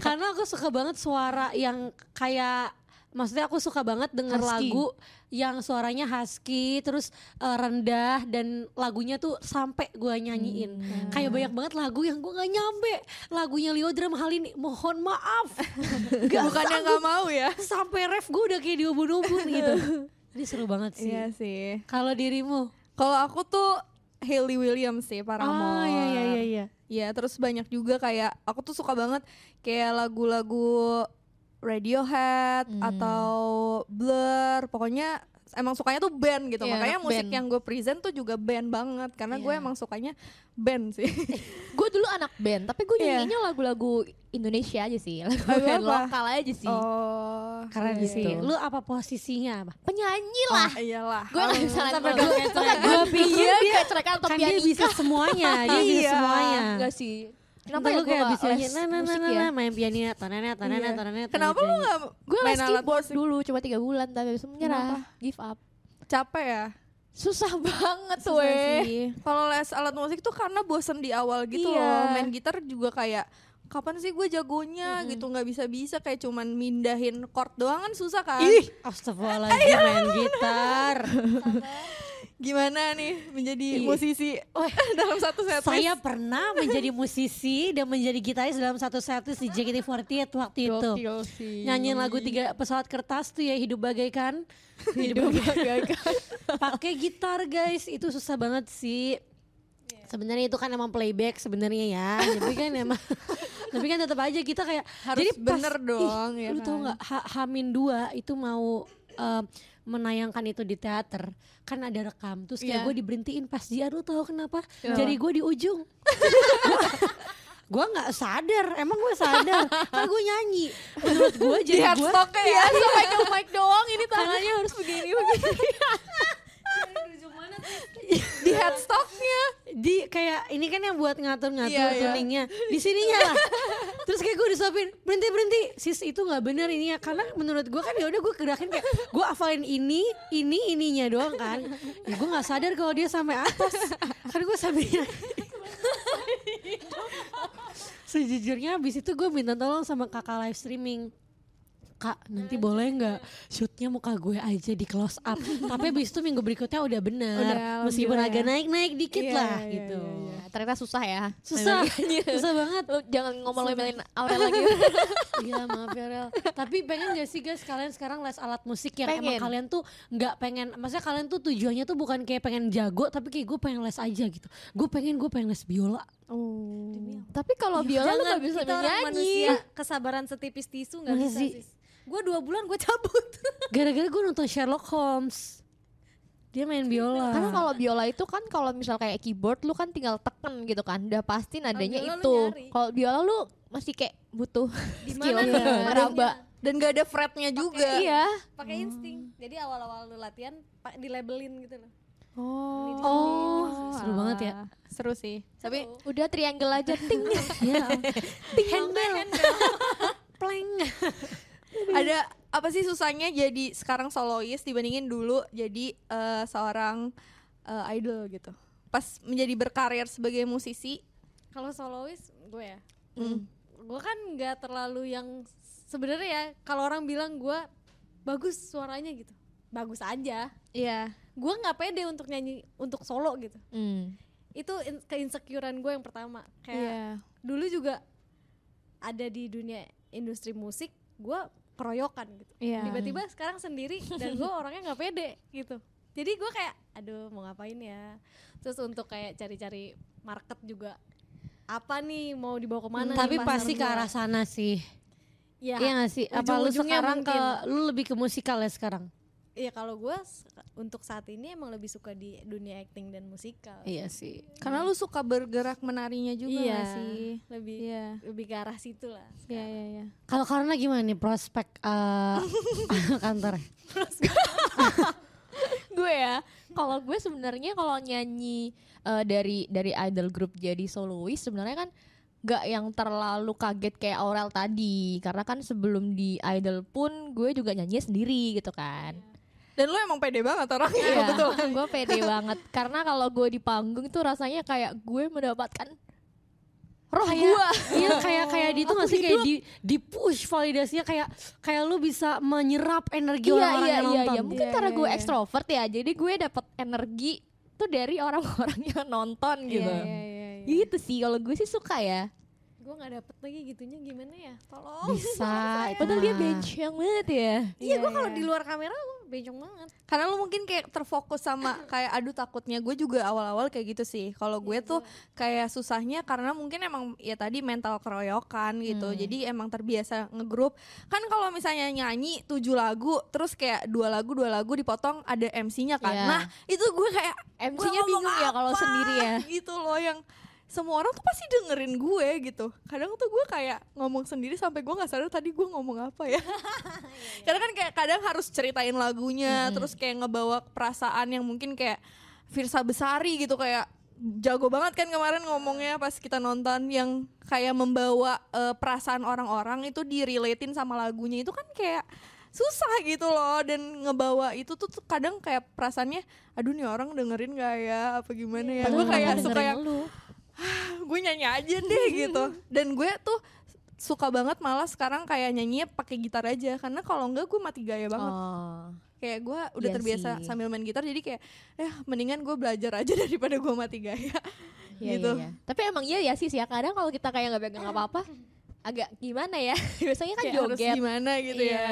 [SPEAKER 1] karena aku suka banget suara yang kayak maksudnya aku suka banget denger
[SPEAKER 3] Husky.
[SPEAKER 1] lagu yang suaranya husky terus eh, rendah dan lagunya tuh sampai gua nyanyiin
[SPEAKER 2] Hmm.
[SPEAKER 1] kayak banyak banget lagu yang gua nggak nyampe lagunya Leo Drum hal ini mohon maaf gak
[SPEAKER 2] Bukannya nggak mau ya?
[SPEAKER 1] sampai ref gue udah kayak diobon-obon gitu ini seru banget sih
[SPEAKER 2] Iya sih.
[SPEAKER 1] kalau dirimu
[SPEAKER 2] Kalau aku tuh Hayley Williams sih Paramore.
[SPEAKER 3] Ah,
[SPEAKER 1] oh iya iya iya iya
[SPEAKER 2] Ya, terus banyak juga kayak aku tuh suka banget kayak lagu-lagu Radiohead
[SPEAKER 3] Hmm.
[SPEAKER 2] atau Blur. Pokoknya emang sukanya tuh band gitu.
[SPEAKER 3] Iya,
[SPEAKER 2] Makanya
[SPEAKER 3] anak
[SPEAKER 2] musik
[SPEAKER 3] band.
[SPEAKER 2] yang gue present tuh juga band banget karena gue
[SPEAKER 3] Iya.
[SPEAKER 2] emang sukanya band sih.
[SPEAKER 3] Gue dulu anak band Tapi gue
[SPEAKER 2] Iya.
[SPEAKER 3] nyanyinya lagu-lagu Indonesia aja sih Lagu
[SPEAKER 2] Lagu
[SPEAKER 3] band
[SPEAKER 2] apa?
[SPEAKER 3] lokal aja sih
[SPEAKER 2] oh.
[SPEAKER 1] keren
[SPEAKER 3] Iya.
[SPEAKER 1] sih lu apa posisinya apa
[SPEAKER 3] Penyanyi lah
[SPEAKER 2] Iyalah.
[SPEAKER 3] Gue gak bisa nanti
[SPEAKER 4] sampai
[SPEAKER 3] Gue
[SPEAKER 1] gue kan pikir
[SPEAKER 3] dia Iya, kayak cerekan atau
[SPEAKER 1] kan dia
[SPEAKER 3] pianika.
[SPEAKER 1] bisa semuanya dia bisa
[SPEAKER 2] Iya.
[SPEAKER 1] semuanya
[SPEAKER 3] Enggak sih Kenapa
[SPEAKER 1] kenapa
[SPEAKER 3] ya
[SPEAKER 1] lu
[SPEAKER 3] gue
[SPEAKER 1] kayak
[SPEAKER 3] gak
[SPEAKER 1] bisa
[SPEAKER 3] les
[SPEAKER 1] nah nah nah
[SPEAKER 3] musik
[SPEAKER 1] nah,
[SPEAKER 3] ya
[SPEAKER 1] nah, main pianina tanana tanana
[SPEAKER 2] Iya.
[SPEAKER 1] tanana
[SPEAKER 2] Kenapa lu nggak
[SPEAKER 3] Gue les
[SPEAKER 2] main alat
[SPEAKER 3] keyboard
[SPEAKER 2] musik?
[SPEAKER 3] dulu Cuma 3 bulan Tapi abis itu menyerah Give up
[SPEAKER 2] Capek ya?
[SPEAKER 3] Susah banget
[SPEAKER 2] Susah
[SPEAKER 3] weh
[SPEAKER 2] sih. Kalau les alat musik tuh karena bosen di awal gitu
[SPEAKER 3] Iya.
[SPEAKER 2] loh. Main gitar juga kayak kapan sih gue jagonya gitu nggak bisa bisa kayak cuman mindahin chord doang kan susah kan.
[SPEAKER 1] Astagfirullahaladzim main gitar
[SPEAKER 2] Gimana nih menjadi
[SPEAKER 1] Ih.
[SPEAKER 2] musisi dalam satu set
[SPEAKER 1] Saya pernah menjadi musisi dan menjadi gitaris dalam satu setlist di JKT48 waktu itu Nyanyiin lagu tiga pesawat kertas tuh ya hidup bagaikan
[SPEAKER 3] Hidup bagaikan
[SPEAKER 1] pakai gitar guys itu susah banget sih
[SPEAKER 2] Iya.
[SPEAKER 1] sebenarnya itu kan emang playback sebenarnya ya tapi kan emang tapi kan tetap aja kita kayak
[SPEAKER 2] Harus
[SPEAKER 1] jadi pas-
[SPEAKER 2] bener dong,
[SPEAKER 1] ih,
[SPEAKER 2] ya
[SPEAKER 1] lu tau
[SPEAKER 2] kan?
[SPEAKER 1] nggak Ha- Hamin dua itu mau eh, menayangkan itu di teater kan ada rekam terus kayak
[SPEAKER 2] Iya.
[SPEAKER 1] gue diberhentiin pas jiar lu tahu kenapa jadi gue di ujung gue nggak sadar emang gue sadar kan gue nyanyi menurut gue
[SPEAKER 2] di
[SPEAKER 1] jadi Iya, gue
[SPEAKER 2] headstock ya.
[SPEAKER 3] Sampai ke mic doang ini tangannya harus begini begini
[SPEAKER 2] di
[SPEAKER 1] Iya.
[SPEAKER 2] headstocknya.
[SPEAKER 1] di kayak ini kan yang buat ngatur-ngatur
[SPEAKER 2] Iya, iya.
[SPEAKER 1] tuningnya di sininya lah terus kayak gue disuapin berhenti berhenti sis itu nggak bener ini ya karena menurut gue kan ya udah gue gerakin kayak gue hafalin ini ini ininya doang kan ya gue nggak sadar kalau dia sampai atas kan gue sampai sejujurnya abis itu gue minta tolong sama kakak live streaming Kak, nanti boleh nggak shootnya muka gue aja di close up. Tapi abis itu minggu berikutnya udah bener.
[SPEAKER 2] Udah,
[SPEAKER 1] Meskipun
[SPEAKER 2] alhamdulillah ya.
[SPEAKER 1] agak naik-naik dikit
[SPEAKER 2] Iya,
[SPEAKER 1] lah
[SPEAKER 2] iya,
[SPEAKER 1] gitu.
[SPEAKER 2] iya, iya.
[SPEAKER 3] Ternyata susah ya
[SPEAKER 1] Susah, susah banget.
[SPEAKER 3] Lu jangan ngomong-ngomongin Aurel lagi
[SPEAKER 1] Iya maaf ya Rel. Tapi pengen gak sih guys kalian sekarang les alat musik yang emang
[SPEAKER 3] Pengen.
[SPEAKER 1] kalian tuh nggak pengen, maksudnya kalian tuh tujuannya tuh bukan kayak pengen jago, tapi kayak gue pengen les aja gitu. Gue pengen gue pengen les biola.
[SPEAKER 3] Oh. Tapi kalau biola lu gak bisa
[SPEAKER 4] kita orang
[SPEAKER 3] nyanyi
[SPEAKER 4] manusia kesabaran setipis tisu nggak bisa
[SPEAKER 1] Masih.
[SPEAKER 4] sis gue dua bulan gue cabut
[SPEAKER 1] Gara-gara gue nonton Sherlock Holmes. Dia main biola.
[SPEAKER 4] Ah.
[SPEAKER 3] Karena kalau biola itu kan kalau misal kayak keyboard lu kan tinggal teken gitu kan, udah pasti nadanya
[SPEAKER 4] biola lu
[SPEAKER 3] itu.
[SPEAKER 4] nyari.
[SPEAKER 3] Kalau biola lu masih kayak butuh
[SPEAKER 4] Di
[SPEAKER 3] skill
[SPEAKER 4] mana
[SPEAKER 1] Iya.
[SPEAKER 4] tempatnya?
[SPEAKER 3] meraba.
[SPEAKER 2] Dan gak ada fretnya juga.
[SPEAKER 3] Iya.
[SPEAKER 4] Pakai insting. Jadi awal-awal lu latihan pa- dilabelin gitu loh.
[SPEAKER 2] Oh.
[SPEAKER 1] Oh, seru banget ya.
[SPEAKER 2] Seru sih. Tapi
[SPEAKER 4] Seru.
[SPEAKER 3] Udah triangle aja ting.
[SPEAKER 1] Iya. Handbell. Pleng.
[SPEAKER 2] ada apa sih susahnya jadi sekarang solois dibandingin dulu jadi eh, seorang eh, idol gitu. Pas menjadi berkarir sebagai musisi,
[SPEAKER 4] Kalau solois gue ya.
[SPEAKER 2] mm,
[SPEAKER 4] Gue kan nggak terlalu yang sebenarnya ya kalau orang bilang gue bagus suaranya gitu. Bagus aja.
[SPEAKER 2] iya.
[SPEAKER 4] Gue nggak pede untuk nyanyi untuk solo gitu.
[SPEAKER 3] Hmm.
[SPEAKER 4] Itu in- keinsecurean gue yang pertama.
[SPEAKER 2] Iya.
[SPEAKER 1] Iya.
[SPEAKER 4] Kayak dulu juga ada di dunia industri musik, gue keroyokan gitu.
[SPEAKER 2] Iya.
[SPEAKER 4] tiba-tiba sekarang sendiri dan gue orangnya nggak pede gitu jadi gue kayak aduh mau ngapain ya terus untuk kayak cari-cari market juga apa nih mau dibawa kemana nih
[SPEAKER 1] Tapi
[SPEAKER 4] pasar
[SPEAKER 1] pasti ke
[SPEAKER 4] gua?
[SPEAKER 1] arah sana sih.
[SPEAKER 4] ya
[SPEAKER 1] Iya nggak sih? Apa lu
[SPEAKER 4] ujung-ujungnya
[SPEAKER 1] sekarang ke
[SPEAKER 4] mungkin.
[SPEAKER 1] lu lebih ke musikal ya sekarang?
[SPEAKER 4] ya kalau gue s- untuk saat ini emang lebih suka di dunia acting dan musikal
[SPEAKER 1] Iya sih.
[SPEAKER 2] Karena lu suka bergerak menarinya juga
[SPEAKER 4] Iya,
[SPEAKER 2] gak sih.
[SPEAKER 4] lebih
[SPEAKER 2] Iya.
[SPEAKER 4] lebih ke arah situ lah
[SPEAKER 2] Iya, iya, iya.
[SPEAKER 1] Kalau karena gimana nih prospek eh kantor?
[SPEAKER 3] gue ya kalau gue sebenarnya kalau nyanyi eh, dari dari idol group jadi solois sebenarnya kan nggak yang terlalu kaget kayak Aurel tadi karena kan sebelum di idol pun gue juga nyanyi sendiri gitu kan
[SPEAKER 2] Dan lu emang pede banget orangnya.
[SPEAKER 3] Iya, gue pede banget karena kalau gue di panggung tuh rasanya kayak gue mendapatkan roh gue
[SPEAKER 1] Iya kayak kayak di itu
[SPEAKER 3] Aku
[SPEAKER 1] nggak sih kayak
[SPEAKER 3] hidup.
[SPEAKER 1] di di push validasinya kayak kayak lu bisa menyerap energi
[SPEAKER 3] iya
[SPEAKER 1] orang-orang
[SPEAKER 3] iya
[SPEAKER 1] yang
[SPEAKER 3] iya
[SPEAKER 1] nonton.
[SPEAKER 3] iya mungkin
[SPEAKER 2] Iya,
[SPEAKER 3] karena
[SPEAKER 2] iya,
[SPEAKER 3] gue
[SPEAKER 2] iya.
[SPEAKER 3] ekstrovert ya jadi gue dapet energi tuh dari orang-orang yang nonton gitu
[SPEAKER 2] iya,
[SPEAKER 3] gitu sih kalau gue sih suka ya
[SPEAKER 4] gue nggak dapet lagi gitunya gimana ya tolong
[SPEAKER 1] Bisa. itu
[SPEAKER 3] Padahal dia
[SPEAKER 1] mah.
[SPEAKER 3] bencong banget ya.
[SPEAKER 4] iya gue kalau di luar kamera gue bencong banget
[SPEAKER 2] Karena lu mungkin kayak terfokus sama kayak aduh takutnya gue juga awal-awal kayak gitu sih. Kalau gue tuh kayak susahnya karena mungkin emang ya tadi mental keroyokan gitu. Jadi emang terbiasa ngegrup. Kan kalau misalnya nyanyi tujuh lagu terus kayak dua lagu dua lagu dipotong ada MC-nya kan.
[SPEAKER 3] Iya.
[SPEAKER 2] Nah, itu gue kayak
[SPEAKER 3] MC-nya
[SPEAKER 2] gua ngomong
[SPEAKER 3] bingung ya kalau
[SPEAKER 2] apa?
[SPEAKER 3] sendiri ya.
[SPEAKER 2] Gitu loh yang semua orang tuh pasti dengerin gue gitu. Kadang tuh gue kayak ngomong sendiri sampai gue nggak sadar tadi gue ngomong apa ya. Karena kan kayak kadang harus ceritain lagunya, terus kayak ngebawa perasaan yang mungkin kayak Virsa Besari gitu kayak jago banget kan kemarin ngomongnya pas kita nonton yang kayak membawa eh, perasaan orang-orang itu direlatein sama lagunya itu kan kayak susah gitu loh dan ngebawa itu tuh tuh kadang kayak perasaannya aduh nih orang dengerin gak ya apa gimana
[SPEAKER 3] Iya,
[SPEAKER 2] ya gue
[SPEAKER 1] Padahal
[SPEAKER 2] kayak
[SPEAKER 1] orang
[SPEAKER 2] suka
[SPEAKER 1] dengerin
[SPEAKER 2] yang
[SPEAKER 1] lu.
[SPEAKER 2] gue nyanyi aja deh gitu dan gue tuh suka banget malah sekarang kayak nyanyinya pakai gitar aja karena kalau enggak gue mati gaya banget
[SPEAKER 3] Oh.
[SPEAKER 2] kayak gue udah
[SPEAKER 3] Iya
[SPEAKER 2] terbiasa
[SPEAKER 3] sih.
[SPEAKER 2] sambil main gitar jadi kayak eh mendingan gue belajar aja daripada gue mati gaya
[SPEAKER 3] Iya,
[SPEAKER 2] gitu
[SPEAKER 3] iya, iya. Tapi emang iya ya sih ya kadang kalau kita kayak nggak pegang apa-apa agak gimana ya? Biasanya kan
[SPEAKER 2] kayak harus
[SPEAKER 3] joget. Iya.
[SPEAKER 2] gimana gitu ya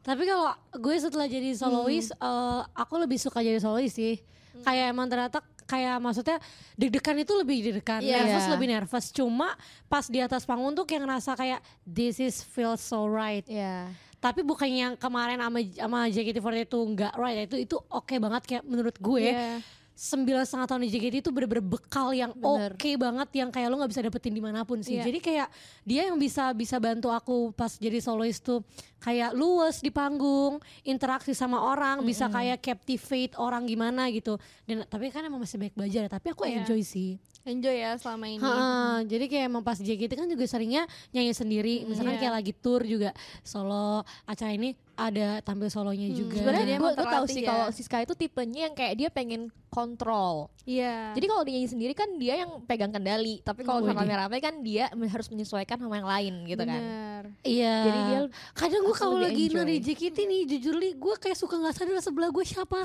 [SPEAKER 1] Tapi kalau gue setelah jadi solois,
[SPEAKER 3] Hmm.
[SPEAKER 1] eh, aku lebih suka jadi solois sih. Kayak emang ternyata kayak maksudnya deg-degan itu lebih deg-degan,
[SPEAKER 3] Iya.
[SPEAKER 1] nervous lebih nervous. Cuma pas di atas panggung tuh kayak ngerasa kayak this is feel so right.
[SPEAKER 3] Iya.
[SPEAKER 1] Tapi bukan yang kemarin sama sama JKT48 itu nggak right, itu itu oke banget kayak menurut gue.
[SPEAKER 3] Iya.
[SPEAKER 1] Sembilan setengah tahun di JKT itu bener-bener bekal yang
[SPEAKER 3] Bener.
[SPEAKER 1] oke banget yang kayak lo nggak bisa dapetin dimanapun sih.
[SPEAKER 2] Iya.
[SPEAKER 1] Jadi kayak dia yang bisa bisa bantu aku pas jadi solois tuh kayak luwes di panggung, interaksi sama orang, bisa kayak captivate orang gimana gitu. Dan tapi kan emang masih banyak belajar ya, tapi aku
[SPEAKER 2] Iya.
[SPEAKER 1] enjoy sih.
[SPEAKER 2] enjoy ya selama
[SPEAKER 3] Iya.
[SPEAKER 2] ini
[SPEAKER 1] Ha, jadi kayak emang pas JKT kan juga seringnya nyanyi sendiri. Misalkan
[SPEAKER 2] Iya.
[SPEAKER 1] kayak lagi tour juga solo acara ini ada tampil solonya juga.
[SPEAKER 3] Hmm. Sebenarnya
[SPEAKER 2] Jadi
[SPEAKER 3] gue
[SPEAKER 2] emang
[SPEAKER 3] gue tahu
[SPEAKER 2] terlatih
[SPEAKER 3] sih
[SPEAKER 2] ya.
[SPEAKER 3] kalau Siska itu tipenya yang kayak dia pengen kontrol.
[SPEAKER 2] iya
[SPEAKER 3] Jadi kalau dia nyanyi sendiri kan dia yang pegang kendali, tapi kalau
[SPEAKER 1] Widih.
[SPEAKER 3] sama rame-rame kan dia harus menyesuaikan sama yang lain gitu kan.
[SPEAKER 2] Bener.
[SPEAKER 1] Iya.
[SPEAKER 3] Jadi dia
[SPEAKER 1] kadang gue
[SPEAKER 3] aku
[SPEAKER 1] kalau lagi
[SPEAKER 3] lebih enjoy.
[SPEAKER 1] nari JKT nih jujur li gue kayak suka nggak sadar sebelah gue siapa.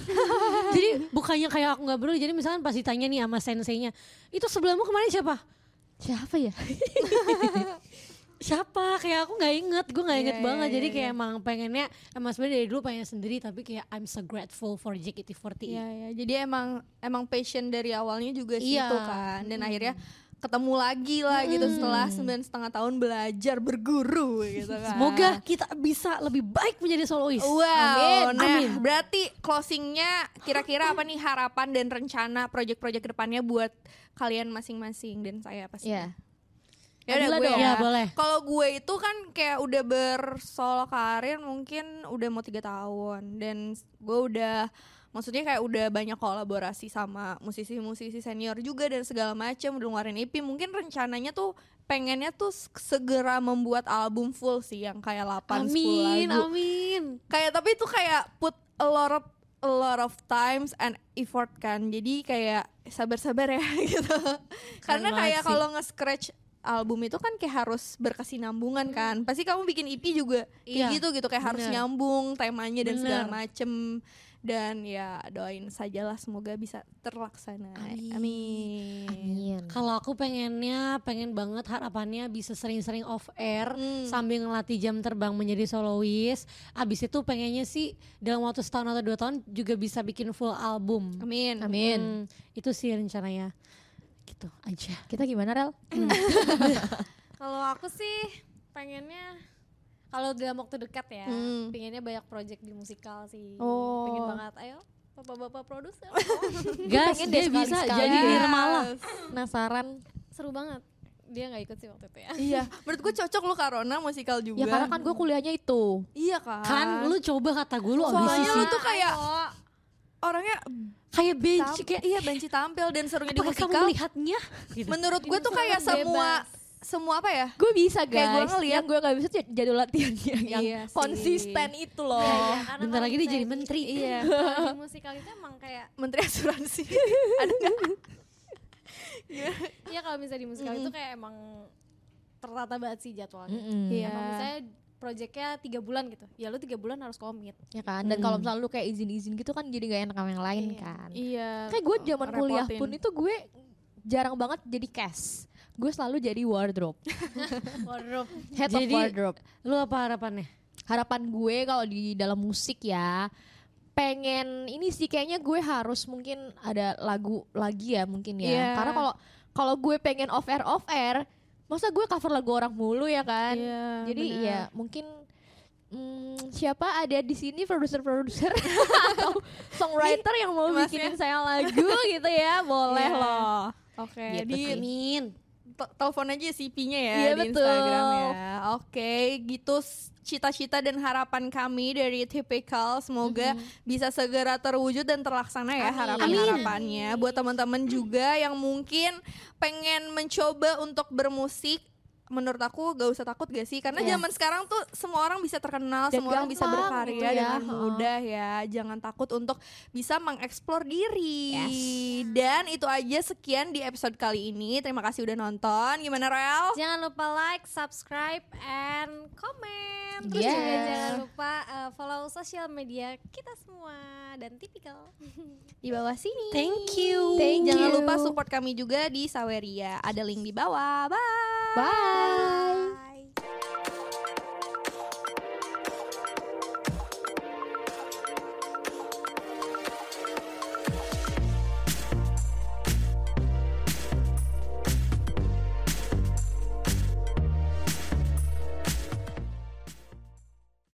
[SPEAKER 1] jadi bukannya kayak aku nggak peduli. Jadi misalkan pas ditanya nih sama senseinya, itu sebelahmu kemarin siapa?
[SPEAKER 3] siapa ya?
[SPEAKER 1] Siapa? Kayak aku nggak inget, gue nggak inget
[SPEAKER 2] Iya,
[SPEAKER 1] banget.
[SPEAKER 2] iya,
[SPEAKER 1] jadi
[SPEAKER 2] iya,
[SPEAKER 1] kayak emang pengennya, emang sebenarnya dari dulu pengen sendiri. Tapi kayak I'm so grateful for JKT48.
[SPEAKER 2] Iya, ya. jadi emang emang passion dari awalnya juga sih
[SPEAKER 1] Iya. Hmm.
[SPEAKER 2] itu kan, dan akhirnya ketemu lagi lah gitu setelah sembilan setengah tahun belajar berguru gitu kan.
[SPEAKER 1] Semoga kita bisa lebih baik menjadi solois.
[SPEAKER 2] Wow,
[SPEAKER 1] Amin.
[SPEAKER 2] nah
[SPEAKER 1] Amin.
[SPEAKER 2] berarti closingnya kira-kira apa nih harapan dan rencana proyek-proyek kedepannya buat kalian masing-masing dan saya pasti.
[SPEAKER 3] Iya.
[SPEAKER 2] Ya udah
[SPEAKER 3] Adila
[SPEAKER 2] gue
[SPEAKER 1] dong.
[SPEAKER 2] ya.
[SPEAKER 1] Ya, boleh.
[SPEAKER 2] Kalau gue itu kan kayak udah bersolo karir mungkin udah mau tiga tahun dan gue udah maksudnya kayak udah banyak kolaborasi sama musisi-musisi senior juga dan segala macam udah ngeluarin EP mungkin rencananya tuh pengennya tuh segera membuat album full sih yang kayak 8
[SPEAKER 1] Amin,
[SPEAKER 2] 10 lagu
[SPEAKER 1] amin.
[SPEAKER 2] kayak tapi itu kayak put a lot of a lot of times and effort kan jadi kayak sabar-sabar ya gitu karena
[SPEAKER 1] banget
[SPEAKER 2] kayak
[SPEAKER 1] sih.
[SPEAKER 2] kalau nge-scratch album itu kan kayak harus berkesinambungan kan pasti kamu bikin EP juga kayak
[SPEAKER 1] Hmm. Iya,
[SPEAKER 2] gitu gitu kayak harus
[SPEAKER 1] bener.
[SPEAKER 2] nyambung temanya dan segala
[SPEAKER 1] Bener.
[SPEAKER 2] macem dan ya doain sajalah semoga bisa terlaksana
[SPEAKER 1] Amin.
[SPEAKER 2] Nah, amin,
[SPEAKER 1] Kalau aku pengennya, pengen banget harapannya bisa sering-sering off air
[SPEAKER 2] Hmm.
[SPEAKER 1] sambil ngelatih jam terbang menjadi solois. Abis itu pengennya sih dalam waktu setahun atau dua tahun juga bisa bikin full album.
[SPEAKER 2] amin
[SPEAKER 3] Amin.
[SPEAKER 1] Hmm, itu sih rencananya. Gitu aja.
[SPEAKER 3] Kita gimana Rel?
[SPEAKER 4] Kalau aku sih pengennya kalau dalam waktu dekat ya,
[SPEAKER 2] Hmm.
[SPEAKER 4] pengennya banyak project di musikal sih.
[SPEAKER 2] Oh.
[SPEAKER 4] Pengen banget. Ayo, bapak-bapak produser.
[SPEAKER 1] Guys,
[SPEAKER 3] Pengen deh Iya.
[SPEAKER 1] dia bisa
[SPEAKER 3] sekali-sekali.
[SPEAKER 1] jadi
[SPEAKER 2] Yes.
[SPEAKER 1] Nirmala.
[SPEAKER 3] Penasaran.
[SPEAKER 4] Seru banget. Dia nggak ikut sih waktu itu ya.
[SPEAKER 2] iya menurut gue cocok lu karena musikal juga
[SPEAKER 3] Ya karena kan gue kuliahnya itu. Ah.
[SPEAKER 2] iya kan
[SPEAKER 1] Iya, Kan lu coba kata gue lu ambisi
[SPEAKER 2] soalnya
[SPEAKER 1] sih.
[SPEAKER 2] lu tuh kayak orangnya
[SPEAKER 1] kayak benci
[SPEAKER 2] tam-
[SPEAKER 1] kayak
[SPEAKER 2] iya benci tampil dan serunya di
[SPEAKER 1] apakah kamu
[SPEAKER 2] musikal
[SPEAKER 1] melihatnya? Gitu.
[SPEAKER 2] menurut gue tuh kayak
[SPEAKER 4] Bebas.
[SPEAKER 2] semua semua apa ya
[SPEAKER 3] Gue bisa guys.
[SPEAKER 2] Kayak gua ngeliat-
[SPEAKER 3] Yang gue gak bisa jadi jadwal latihannya yang
[SPEAKER 2] Iya sih.
[SPEAKER 3] konsisten itu loh.
[SPEAKER 4] Iya, karena
[SPEAKER 1] Bentar
[SPEAKER 4] kalau
[SPEAKER 1] lagi dia
[SPEAKER 4] misalnya
[SPEAKER 1] jadi menteri.
[SPEAKER 2] iya
[SPEAKER 4] kalau di musikal itu emang kayak
[SPEAKER 2] menteri asuransi ada nggak
[SPEAKER 4] Iya kalau misalnya di musikal itu kayak emang tertata banget sih jadwalnya.
[SPEAKER 3] Mm-mm.
[SPEAKER 2] Iya.
[SPEAKER 4] Emang misalnya projectnya tiga bulan gitu, ya lu tiga bulan harus komit.
[SPEAKER 3] Ya kan. Dan kalau misalnya lu kayak izin-izin gitu kan jadi gak enak sama yang lain
[SPEAKER 4] Iya.
[SPEAKER 3] kan.
[SPEAKER 2] iya
[SPEAKER 3] Kayak gue zaman kuliah
[SPEAKER 2] Repotin.
[SPEAKER 3] pun itu gue jarang banget jadi cash. Gue selalu jadi wardrobe,
[SPEAKER 4] Wardrobe.
[SPEAKER 3] head
[SPEAKER 1] Jadi-
[SPEAKER 3] of wardrobe.
[SPEAKER 1] Lu apa harapannya?
[SPEAKER 3] Harapan gue kalau di dalam musik ya pengen ini sih kayaknya gue harus mungkin ada lagu lagi ya mungkin ya.
[SPEAKER 2] Iya.
[SPEAKER 3] Karena kalau kalau gue pengen off air off air, masa gue cover lagu orang mulu ya kan?
[SPEAKER 2] Iya,
[SPEAKER 3] Jadi
[SPEAKER 2] bener.
[SPEAKER 3] ya mungkin hmm, siapa ada di sini produser-produser atau songwriter yang mau
[SPEAKER 2] Mas
[SPEAKER 3] bikinin saya lagu gitu ya, boleh
[SPEAKER 2] Iya.
[SPEAKER 3] loh.
[SPEAKER 2] oke
[SPEAKER 1] Iya,
[SPEAKER 3] Gitu
[SPEAKER 2] di
[SPEAKER 3] sih.
[SPEAKER 1] Amin.
[SPEAKER 2] te- telepon aja CP-nya ya
[SPEAKER 3] Iya,
[SPEAKER 2] di
[SPEAKER 3] betul.
[SPEAKER 2] Instagram ya oke gitu s- cita-cita dan harapan kami dari Typical semoga bisa segera terwujud dan terlaksana ya
[SPEAKER 3] Amin.
[SPEAKER 2] harapan-harapannya buat teman-teman juga yang mungkin pengen mencoba untuk bermusik menurut aku gak usah takut gak sih karena
[SPEAKER 3] Iya.
[SPEAKER 2] zaman sekarang tuh semua orang bisa terkenal
[SPEAKER 3] Dan
[SPEAKER 2] semua orang bisa
[SPEAKER 3] gampang
[SPEAKER 2] berkarya
[SPEAKER 3] gitu ya.
[SPEAKER 2] dengan
[SPEAKER 3] Heeh.
[SPEAKER 2] mudah ya jangan takut untuk bisa mengeksplor diri
[SPEAKER 3] Yes.
[SPEAKER 2] dan itu aja sekian di episode kali ini terima kasih udah nonton gimana Rel
[SPEAKER 4] Jangan lupa like, subscribe, and comment. Terus
[SPEAKER 3] Yes.
[SPEAKER 4] juga jangan lupa uh, follow sosial media kita semua dan tipikal.
[SPEAKER 2] di bawah sini
[SPEAKER 1] Thank you.
[SPEAKER 3] Thank
[SPEAKER 2] jangan
[SPEAKER 3] you.
[SPEAKER 2] lupa support kami juga di Saweria ada link di bawah bye
[SPEAKER 3] Bye.
[SPEAKER 4] Bye.